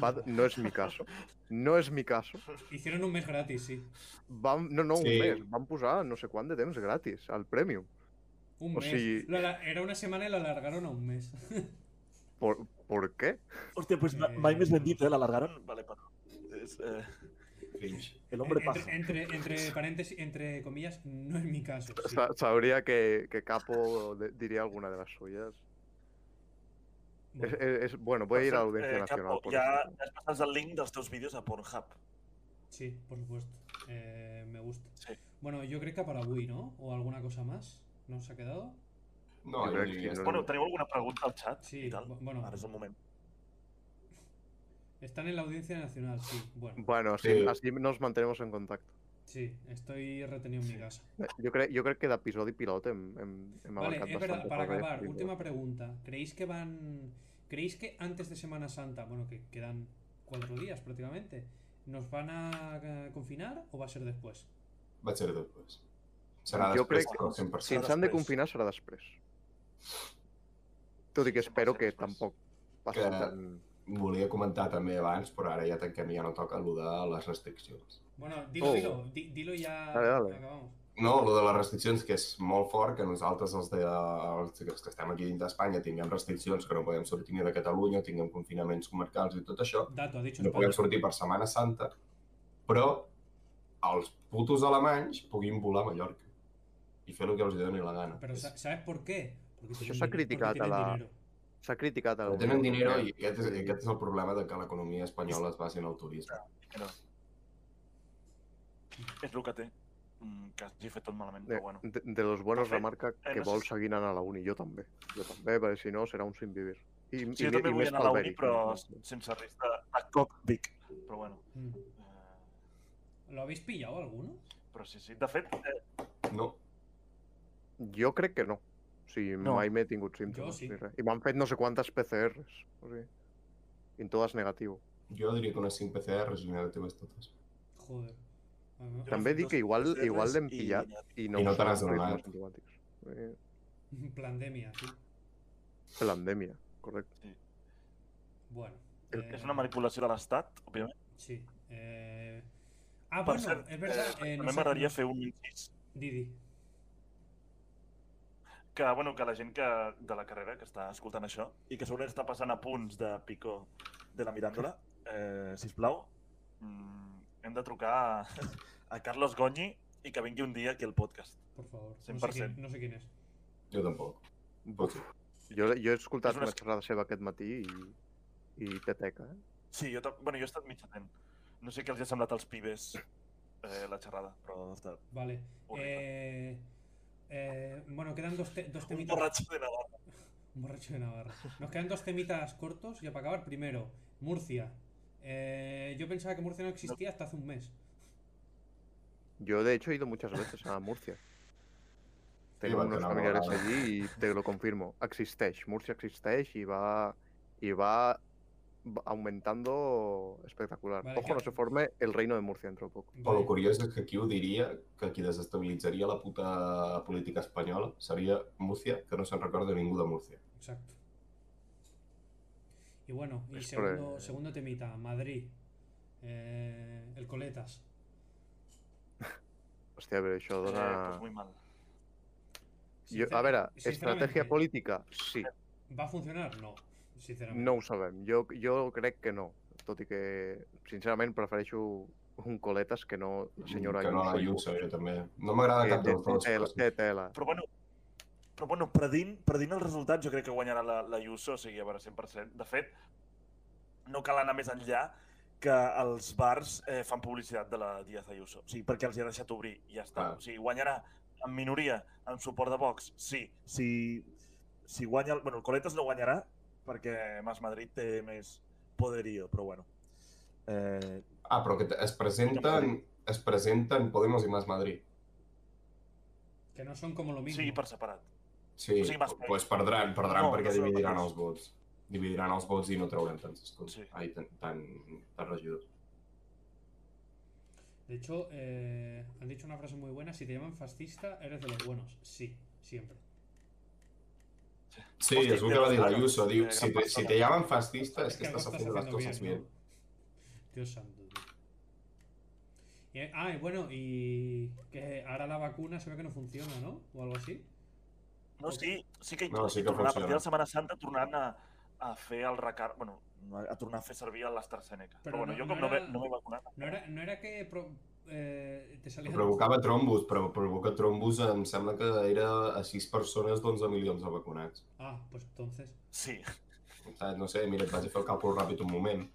A: va, no és mi caso. No és mi caso.
C: Hicieron un mes gratis, sí.
A: Vam, no, no, un
B: Sí.
A: mes. Van posar no sé quant de temps gratis al Premium.
C: Un
A: O
C: mes.
A: sigui-
C: Lo ala- Era una semana y lo alargaron a un mes.
A: Por, ¿por qué?
D: Hòstia, doncs ma- mai més ben dit, eh? L'alargaron. Vale, però... És, eh,
B: Cringe.
D: el hombre paja.
C: entre, entre, entre paréntesis, entre comillas, no es mi caso. sí.
A: Sa- Sabria que, que Capo de- diria alguna de les suyes.
C: Bueno,
A: Es, es- es- bueno, voy a ir a la Audiencia
D: Eh,
A: Nacional.
D: Capo,
A: por
D: ja,
A: eso.
D: ja has passat el link dels teus vídeos a Pornhub.
C: sí, por supuesto. Eh, me gusta.
D: Sí.
C: Bueno, yo creo que para Wii, ¿no? O alguna cosa más. ¿Nos ha quedado?
B: No,
A: Jo
B: jo
A: crec
B: diria...
A: que no.
D: Bueno, teniu alguna pregunta al xat
C: Sí,
D: i tal?
C: bu- bueno.
D: Ara és el moment.
C: Están en la audiencia nacional, sí. Bueno,
A: Bueno, sí,
B: Sí.
A: así nos mantenemos en contacto. Eh,
C: sí, estoy retenido en mi casa.
A: Yo creo, yo creo que de episodio piloto en, en, en
C: Vale,
A: Abarcat
C: es verdad,
A: bastante
C: para
A: joder,
C: acabar,
A: digo.
C: última pregunta. ¿Creéis que van. ¿Creéis que antes de Semana Santa, bueno, que quedan cuatro días prácticamente, nos van a eh, confinar o va a ser después?
B: Va ser després. Serà
A: Jo
B: després
A: crec
B: del 100%.
A: Si ens han de
D: després.
A: confinar serà després. Tot i que espero que tampoc passi
B: Que-
A: tant...
B: Volia comentar també abans, però ara ja tanquem i ja no toca el de les restriccions.
C: Bueno, dilo,
A: Oh.
C: dilo, di- dilo i ja
A: Dale, dale.
C: acabamos.
B: No, el de les restriccions, que és molt fort, que nosaltres, els, de, els que- els que estem aquí dins d'Espanya, tinguem restriccions, que no podem sortir ni de Catalunya, tinguem confinaments comarcals i tot això,
C: Dato, ha dicho
B: no
C: España.
B: podem sortir per Setmana Santa, però els putos alemanys puguin volar a Mallorca i fer el que els doni la gana.
C: Pero sa- ¿sabes por qué? Porque
A: Pues
C: tienen
A: Eso se ha
C: din- porque
A: criticado
C: tienen
A: a la-
C: dinero.
A: S'ha criticat... a la
B: No tenen
A: Unió
B: dinero i
A: Europea.
B: aquest és, aquest és el problema de que l'economia espanyola es basi en el turisme.
D: És el que té. Mm, que hagi fet tot malament,
A: De,
D: però bueno.
A: de, de los buenos
D: De fet,
A: remarca
D: eh,
A: que
D: no sé
A: vol
D: si-
A: seguir anant a la uni, jo també. Jo també, perquè si no serà un sin vivir. I,
D: Sí, jo també vull anar a la uni, però sense risc de, de cockpick. Però bueno.
C: Mm.
D: Eh,
C: ¿Lo habéis pillado alguno?
D: però sí, sí. De fet, eh,
B: No,
A: Jo crec que no. O sigui,
D: No.
A: no. mai m'he tingut símptomes
C: sí.
A: sí. ni res. I m'han fet no sé quantes PCRs. O sigui, i en totes negatiu.
B: jo diria que unes 5 PCRs i negatives totes.
C: Joder. A ver,
D: Jo
A: També
D: he fet
A: dic que
D: dos
A: igual,
D: PCRs
A: igual l'hem
D: i-
A: pillat i no,
B: I no
A: us
B: te n'has
A: han fet
B: adonat.
A: els antibiòtics. O sigui,
C: Plandemia, tío.
A: Pandèmia, correcte.
C: Bueno. eh,
D: És una manipulació de l'Estat, òbviament.
C: Sí. eh, Ah,
D: Per
C: bueno,
D: cert,
C: es verdad.
D: eh,
C: eh, no
D: també
C: sé-
D: m'agradaria fer un incís
C: Didi.
D: que, bueno, que la gent que, de la carrera que està escoltant això i que a sobre està passant a punts de picó de la miràndola, eh, sisplau, mm, hem de trucar a, a Carlos Gonyi i que vingui un dia aquí al podcast.
C: Por favor. No sé,
D: 100%.
C: quién, no sé quién es.
B: Jo tampoc. Però sí.
A: Jo, jo he escoltat
D: És una
A: una
D: esca-
A: xerrada seva aquest matí i, i te teca, eh?
D: Sí, jo, ta- bueno, jo he estat mig atent. No sé què els ha semblat als pibes eh, la xerrada, però ha estat
C: Vale.
D: horrible.
C: Eh, eh, bueno, quedan dos, te- dos
D: un
C: temitas.
D: borratxo de Navarra.
C: Un borracho de Navarra. Nos quedan dos temitas cortos. Ya para acabar, primero, Murcia. Eh, yo pensaba que Murcia no existía hasta hace un mes.
A: Yo, de hecho, he ido muchas veces a Murcia. Tengo
B: va
A: unos
B: tener una
A: familiares
B: volada.
A: allí y te lo confirmo. Existeix, Murcia existeix y va, y va va aumentando espectacular.
C: Vale,
A: Ojo, no
C: que-
A: se forme el reino de Murcia dentro de poco.
B: Però
C: Vale.
B: el curiós és que qui ho diria, que qui desestabilitzaria la puta política espanyola seria Múrcia, que no se'n recorda ningú de Múrcia.
C: Exacto. Y bueno, y
A: Es
C: segundo,
A: por-
C: segundo temita, Madrid. Eh, el Coletas.
A: Hòstia, però això dona...
D: Eh, pues muy mal.
A: Jo, a
C: Sincer-
A: veure,
C: sinceramente,
A: estratègia política, sí.
C: ¿Va a funcionar? No, sinceramente.
A: No ho sabem. Jo, jo crec que no. Tot i que, sincerament, prefereixo un coletes que no la senyora
B: Mm, que no la Ayuso, Ah, jo també. No m'agrada
A: Que
B: cap
A: té-
B: dels dos.
A: té
B: però
A: tela-
B: sí.
A: Té tela.
D: Però bueno, però bueno predint, predint el resultat, jo crec que guanyarà la, la Ayuso, o sigui, a veure, 100%. De fet, no cal anar més enllà que els bars eh, fan publicitat de la Díaz Ayuso. O sigui, perquè els hi ha deixat obrir i ja està.
B: Clar.
D: O sigui, guanyarà en minoria, amb suport de Vox, sí. Si, si guanya... El, bueno, el Coletas no guanyarà perquè Mas Madrid té més poderío, però bueno. Eh,
B: Ah, però que t- es presenten, es presenten Podemos i Mas Madrid.
C: Que no son como lo mismo.
D: sí, per separat.
B: Sí,
D: Sí, Mas Madrid.
B: doncs perdran, perdran
D: No,
B: perquè
D: no són el
B: dividiran
D: mateix.
B: els vots. Dividiran els vots i no trauran tants escons.
D: Sí.
B: Ai, tant tan, tan regidors.
C: De hecho, eh, han dicho una frase muy buena. Si te llaman fascista, eres de los buenos. Sí, siempre.
B: Sí,
D: Hòstia,
B: és el
D: té
B: que va dir
D: les
B: l'Ayuso.
D: ganes.
B: Diu,
D: Eh,
B: si
D: gran
B: te, si
D: persona.
B: te llaman fascista és
C: Es que
B: que
C: algo
B: estàs
C: estás
B: fent les
C: haciendo
B: coses
C: bien,
B: bien.
C: ¿no? Dios santo. tío. Y, ah, y bueno, y que ahora la vacuna se ve que no funciona, ¿no? O algo así.
D: No, sí, sí que hi
B: No, sí que
D: tornarà a
B: funciona.
D: partir de la Setmana Santa tornant a, a fer el recar... Bueno, a tornar a fer servir l'AstraZeneca.
C: Però
D: Però, bueno,
C: no-
D: jo
C: no
D: com no,
C: era-
D: m'he- no m'he vacunat...
C: No era, no era que pro- eh, te salían...
B: Provocava trombos, però provoca trombos em sembla que era a 6 persones d'11 milions de vacunats.
C: Ah, pues entonces.
D: Sí.
B: Saps? No sé, mira, et vaig a fer el càlcul ràpid un moment.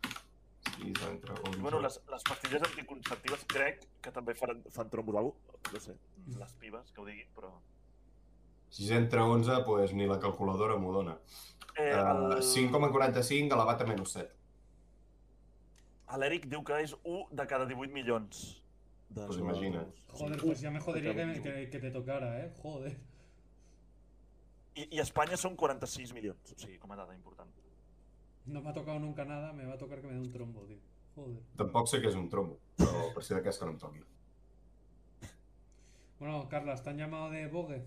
B: Sí, entre
D: I
B: 11.
D: bueno, les, les pastilles anticonceptives crec que també faran, fan trombos o alguna cosa. No sé,
C: Mm.
D: les pibes, que ho diguin, però...
B: Si és entre 11, doncs pues, ni la calculadora m'ho dona.
D: Eh,
B: Uh,
D: el-
B: 5,45 elevat a menys 7.
D: L'Eric diu que és 1 de cada 18 milions. De
B: Pues imagina't.
C: Joder, pues ya me jodería que, me-
D: Acabo.
C: que- que te tocara, ¿eh? Joder.
D: I, I a Espanya són 46 milions, o sigui, com a dada important.
C: No me ha tocado nunca nada, me va a tocar que me dé un trombo, tío. Joder.
B: Tampoc sé que és un trombo, però per si d'aquesta no em toqui.
C: Bueno, Carla, ¿te han llamado de Vogue?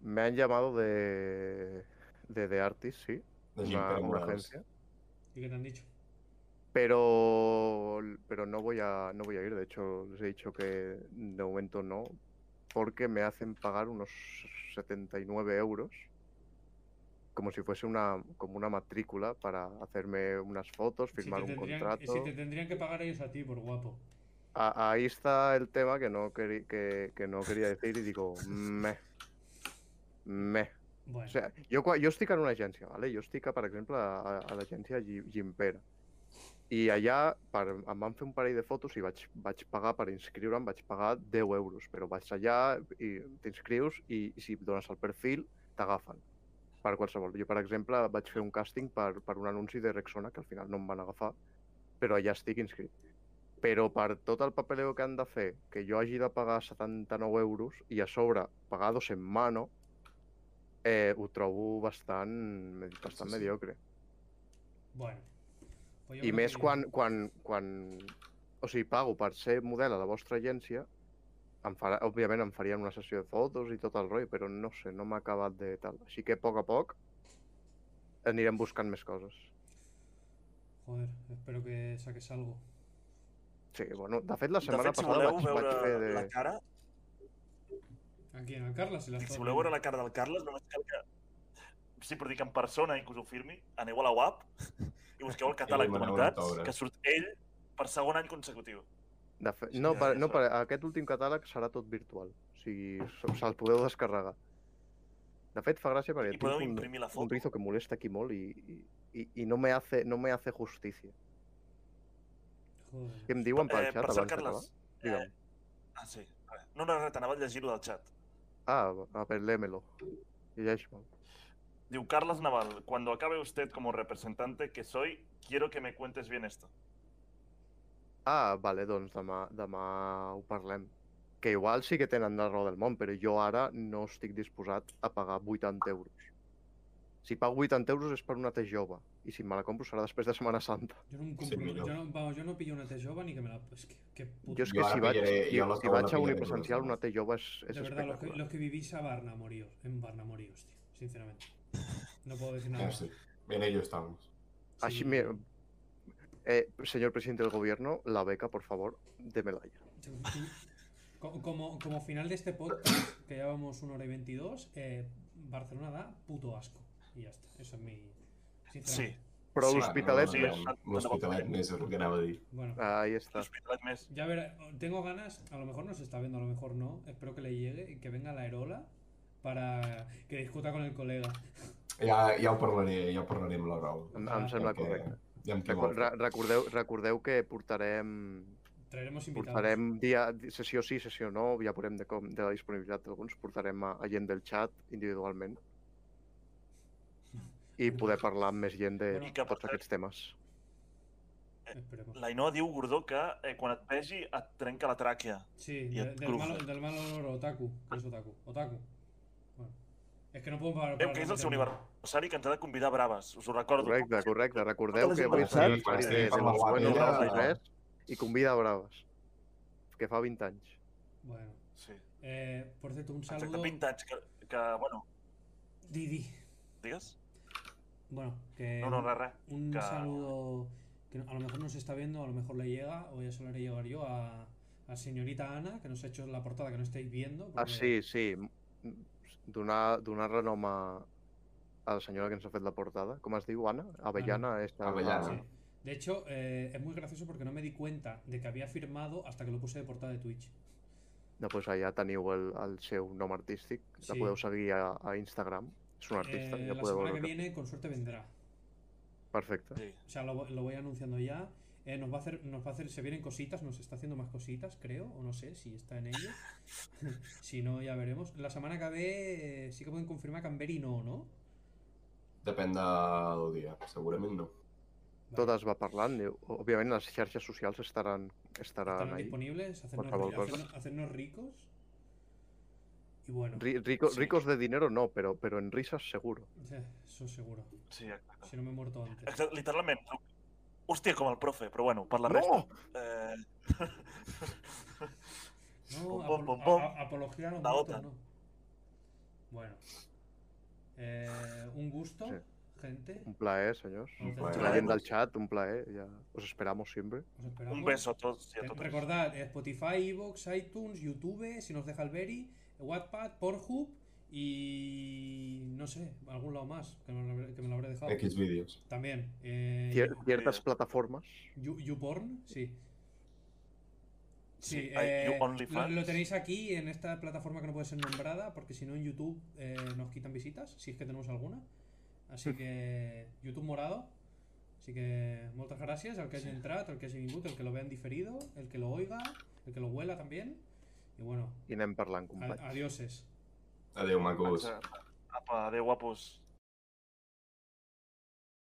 A: Me han llamado de. de The Artist, sí.
B: De Jim
A: Una, una
B: Perambros.
A: agencia.
C: ¿Y qué te han dicho?
A: Pero. Pero no voy a. no voy a ir. De hecho, les he dicho que de momento no. Porque me hacen pagar unos 79 euros. Como si fuese una. como una matrícula para hacerme unas fotos,
C: Si te
A: firmar un
C: tendrían-
A: contrato.
C: Si te tendrían que pagar ellos a ti, por guapo.
A: A- ahí está el tema que no, queri- que, que no quería decir y digo, meh. Meh.
C: Bueno,
A: O sea, jo, quan, jo estic en una agència, vale? jo estic, per exemple, a, a l'agència Gi- Gimpera. I allà per, em van fer un parell de fotos i vaig, vaig pagar per inscriure'm, vaig pagar 10 euros, però vaig allà i t'inscrius i, i si dones el perfil t'agafen per qualsevol. Jo, per exemple, vaig fer un càsting per, per un anunci de Rexona que al final no em van agafar, però allà estic inscrit. Però per tot el papeleo que han de fer, que jo hagi de pagar 79 euros i a sobre pagados en mano, eh, ho trobo bastant, bastant
B: Sí, sí.
A: mediocre.
C: bueno. Pues yo
A: I
C: creo
A: més
C: que-
A: quan, quan, quan... O sigui, pago per ser model a la vostra agència, em farà, òbviament em farien una sessió de fotos i tot el rotllo, però no sé, no m'ha acabat de tal. Així que a poc a poc anirem buscant més coses.
C: Joder, espero que saques algo.
A: Sí, bueno, de fet, la
D: De
A: setmana
D: fet, si
A: passada
D: voleu
A: vaig, vaig fer
D: veure
A: de...
D: la cara,
C: Aquí en Carla, si la
D: dic,
C: estás
D: si voleu veure la cara del Carles, només cal que... Sí, però dic en persona i que us ho firmi, aneu a la web i busqueu el catàleg
B: demaneu un
D: d'humanitats,
B: autògraf.
D: que surt ell per segon any consecutiu.
A: Eh, de fe...
D: Sí,
A: no,
D: ja,
A: per,
D: ja Ah.
A: no,
D: sort.
A: per, aquest últim catàleg serà tot virtual. O sigui, se- se'l podeu descarregar. De fet, fa gràcia perquè
D: I podeu
A: tinc un,
D: imprimir
A: un
D: la foto.
A: rizo que molesta aquí molt i, i- i, i no, me hace, no me hace justicia.
C: Joder.
A: Què em diuen pel
D: Eh,
A: xat
D: per
A: abans
D: cert,
A: d'acabar?
D: Carles...
A: Digue'm.
D: Eh, ah, sí. No, no, res, t'anava a llegir-ho del xat.
A: Ah, a ver, lémelo. Y ya es mal.
D: Diu Carles Naval, cuando acabe usted como representante que soy, quiero que me cuentes bien esto.
A: Ah, vale, doncs demà, demà ho parlem. Que igual sí que tenen la raó del món, però jo ara no estic disposat a pagar 80 euros. Si pago 80 euros és per una té jove, i si me la compro serà després de Setmana Santa.
C: Yo no, me
B: Sí,
C: compro-
B: mira.
C: yo no- vamos, yo no pillo una T-Jova ni que me la... Es que, qué puto-
A: Jo és
B: Jo
A: que
B: ara
A: si vaig,
B: pillaré-
A: si,
B: jo les
A: si
B: coses
A: vaig a
B: les pillaré,
A: unipresencial
B: les
A: una té jove és, és
C: de verdad, los que,
A: espectacular.
C: los que vivís a Barna moríos, en Barna moríos, tío, sinceramente. No puedo decir nada.
B: Ya
C: más.
B: sé. En ello estamos.
A: Així,
C: Sí,
A: mira, eh, señor presidente del gobierno, la beca, por favor, de Melalla.
C: Co- Como, como final de este podcast, que ya vamos 1 hora y 22, eh, Barcelona da puto asco. Y ya está. Eso es mi. sinceramente.
A: Però
D: Sí,
A: l'Hospitalet
D: no,
A: més.
D: no, no.
B: L'Hospitalet més és el que anava a dir.
C: Bueno,
A: Ahí está.
D: L'hospitalet més.
C: ya verá. Tengo ganas, a lo mejor nos está viendo, a lo mejor no. Espero que le llegue y que venga la Erola para que discuta con el colega.
B: Ja, ja ho parlaré, ja ho parlaré amb l'Arau.
A: Em, em sembla
B: Perquè
A: correcte.
B: Ja em
A: Recu- re- recordeu, recordeu que portarem,
C: Traeremos invitados.
A: portarem dia, di- sessió sí, sessió no, ja veurem de, com, de la disponibilitat d'alguns, portarem a, a gent del chat individualment i poder parlar amb més gent de
C: Bueno.
D: I que, per
A: tots
D: cert,
A: aquests temes.
C: Esperemos.
D: l'Ainhoa diu, Gordó, que eh, quan et vegi et trenca la tràquea.
C: Sí,
D: Y
C: de-
D: el
C: del,
D: cruce.
C: mal, del mal olor otaku, que es otaku. Otaku. Bueno. Es que no puedo parar.
D: Veu que és el seu aniversari que ens ha de convidar a braves, us ho recordo.
A: Correcte, correcte. Recordeu
D: Totes
A: que
D: les
A: avui és
D: aniversari,
A: l'aniversari de,
D: sí,
A: de
D: parla
A: Montsueno
D: guapa,
A: Braves
D: ella.
A: Res i convida a Braves, que fa 20 anys.
C: Bueno.
D: Sí.
C: Eh, por cierto, un
D: Exacte,
C: saludo.
D: 20 anys, que, que, bueno,
C: Didi.
D: digues?
C: Bueno, que.
D: No, no, res, res.
C: Un
D: que-
C: saludo que a lo mejor nos está viendo, a lo mejor le llega, o ya se lo haré llegar yo a, a señorita Ana, que nos ha hecho la portada que no estáis viendo.
A: Ah,
C: porque-
A: sí, sí. m- Donar, donar renom a, a la senyora que ens ha fet la portada. Com es diu, Anna? Avellana? Esta,
B: Avellana.
C: Sí. De hecho, eh, es muy gracioso porque no me di cuenta de que había firmado hasta que lo puse de portada de Twitch.
A: No, doncs allà teniu el, el seu nom artístic, la
C: Sí.
A: podeu seguir a, a Instagram. És un artista,
C: Eh,
A: ja
C: la
A: podeu
C: semana
A: veure.
C: que
A: que-
C: viene, con suerte, vendrá.
A: Perfecte.
D: Sí.
C: O sea, lo, vo- lo voy anunciando ya. Eh, nos va a hacer, nos va a hacer, se vienen cositas, nos está haciendo más cositas, creo, o no sé si está en ello. si no, ya veremos. La semana que ve eh, sí que pueden confirmar Canberry no, ¿no?
B: Depèn del dia, segurament no.
C: Vale.
A: Tot es va parlant. i, o- Òbviament, les xarxes socials estaran, estaran,
C: Estarán
A: ahí.
C: disponibles, hacernos,
A: favor,
C: ri-
A: cosas.
C: hacernos- hacernos ricos. Y bueno,
A: Ri- rico-
D: Sí.
A: Ricos de dinero no, pero, pero en risas seguro.
C: eh, eso seguro.
D: Sí, exacte.
C: Si no me he muerto antes.
D: Exacte, literalment. Eh, Hòstia, com el profe, però bueno, per la
A: No!
D: resta. Eh...
C: No,
D: Pom, pom,
C: apolo-
D: pom, pom.
C: a- a- apología a los
D: La
C: muertos,
D: OTAN.
C: no. Bueno. Eh, un gusto,
A: Sí.
C: gente.
A: Un plaer, senyors.
C: Un
B: plaer.
A: La gent
C: plaer.
A: del xat, un plaer. Ja us esperamos sempre.
C: Os esperamos.
D: Un beso a todos y a
C: Eh,
D: todas.
C: Recordad, eh, Spotify, Evox, iTunes, YouTube, si nos deja el Berry, Wattpad, Pornhub y no sé, algún lado más que me lo habré, que me lo habré dejado.
B: X vídeos.
C: También. Eh,
A: Cier- Ciertas
D: eh,
A: plataformas.
C: You- YouPorn, sí. Sí,
D: hay
C: eh,
D: You
C: lo,
D: OnlyFans.
C: lo tenéis aquí en esta plataforma que no puede ser nombrada porque si no en YouTube eh, nos quitan visitas, si es que tenemos alguna.
D: Hmm.
C: Así que YouTube morado. Así que moltes gràcies al que hagi entrat, al que hagi vingut, el que lo vean diferido, el que lo oiga, el que lo huela también. Y bueno,
A: I anem parlant,
C: a-
A: companys.
C: adioses.
B: Adéu, macos.
D: Apa, adéu, guapos.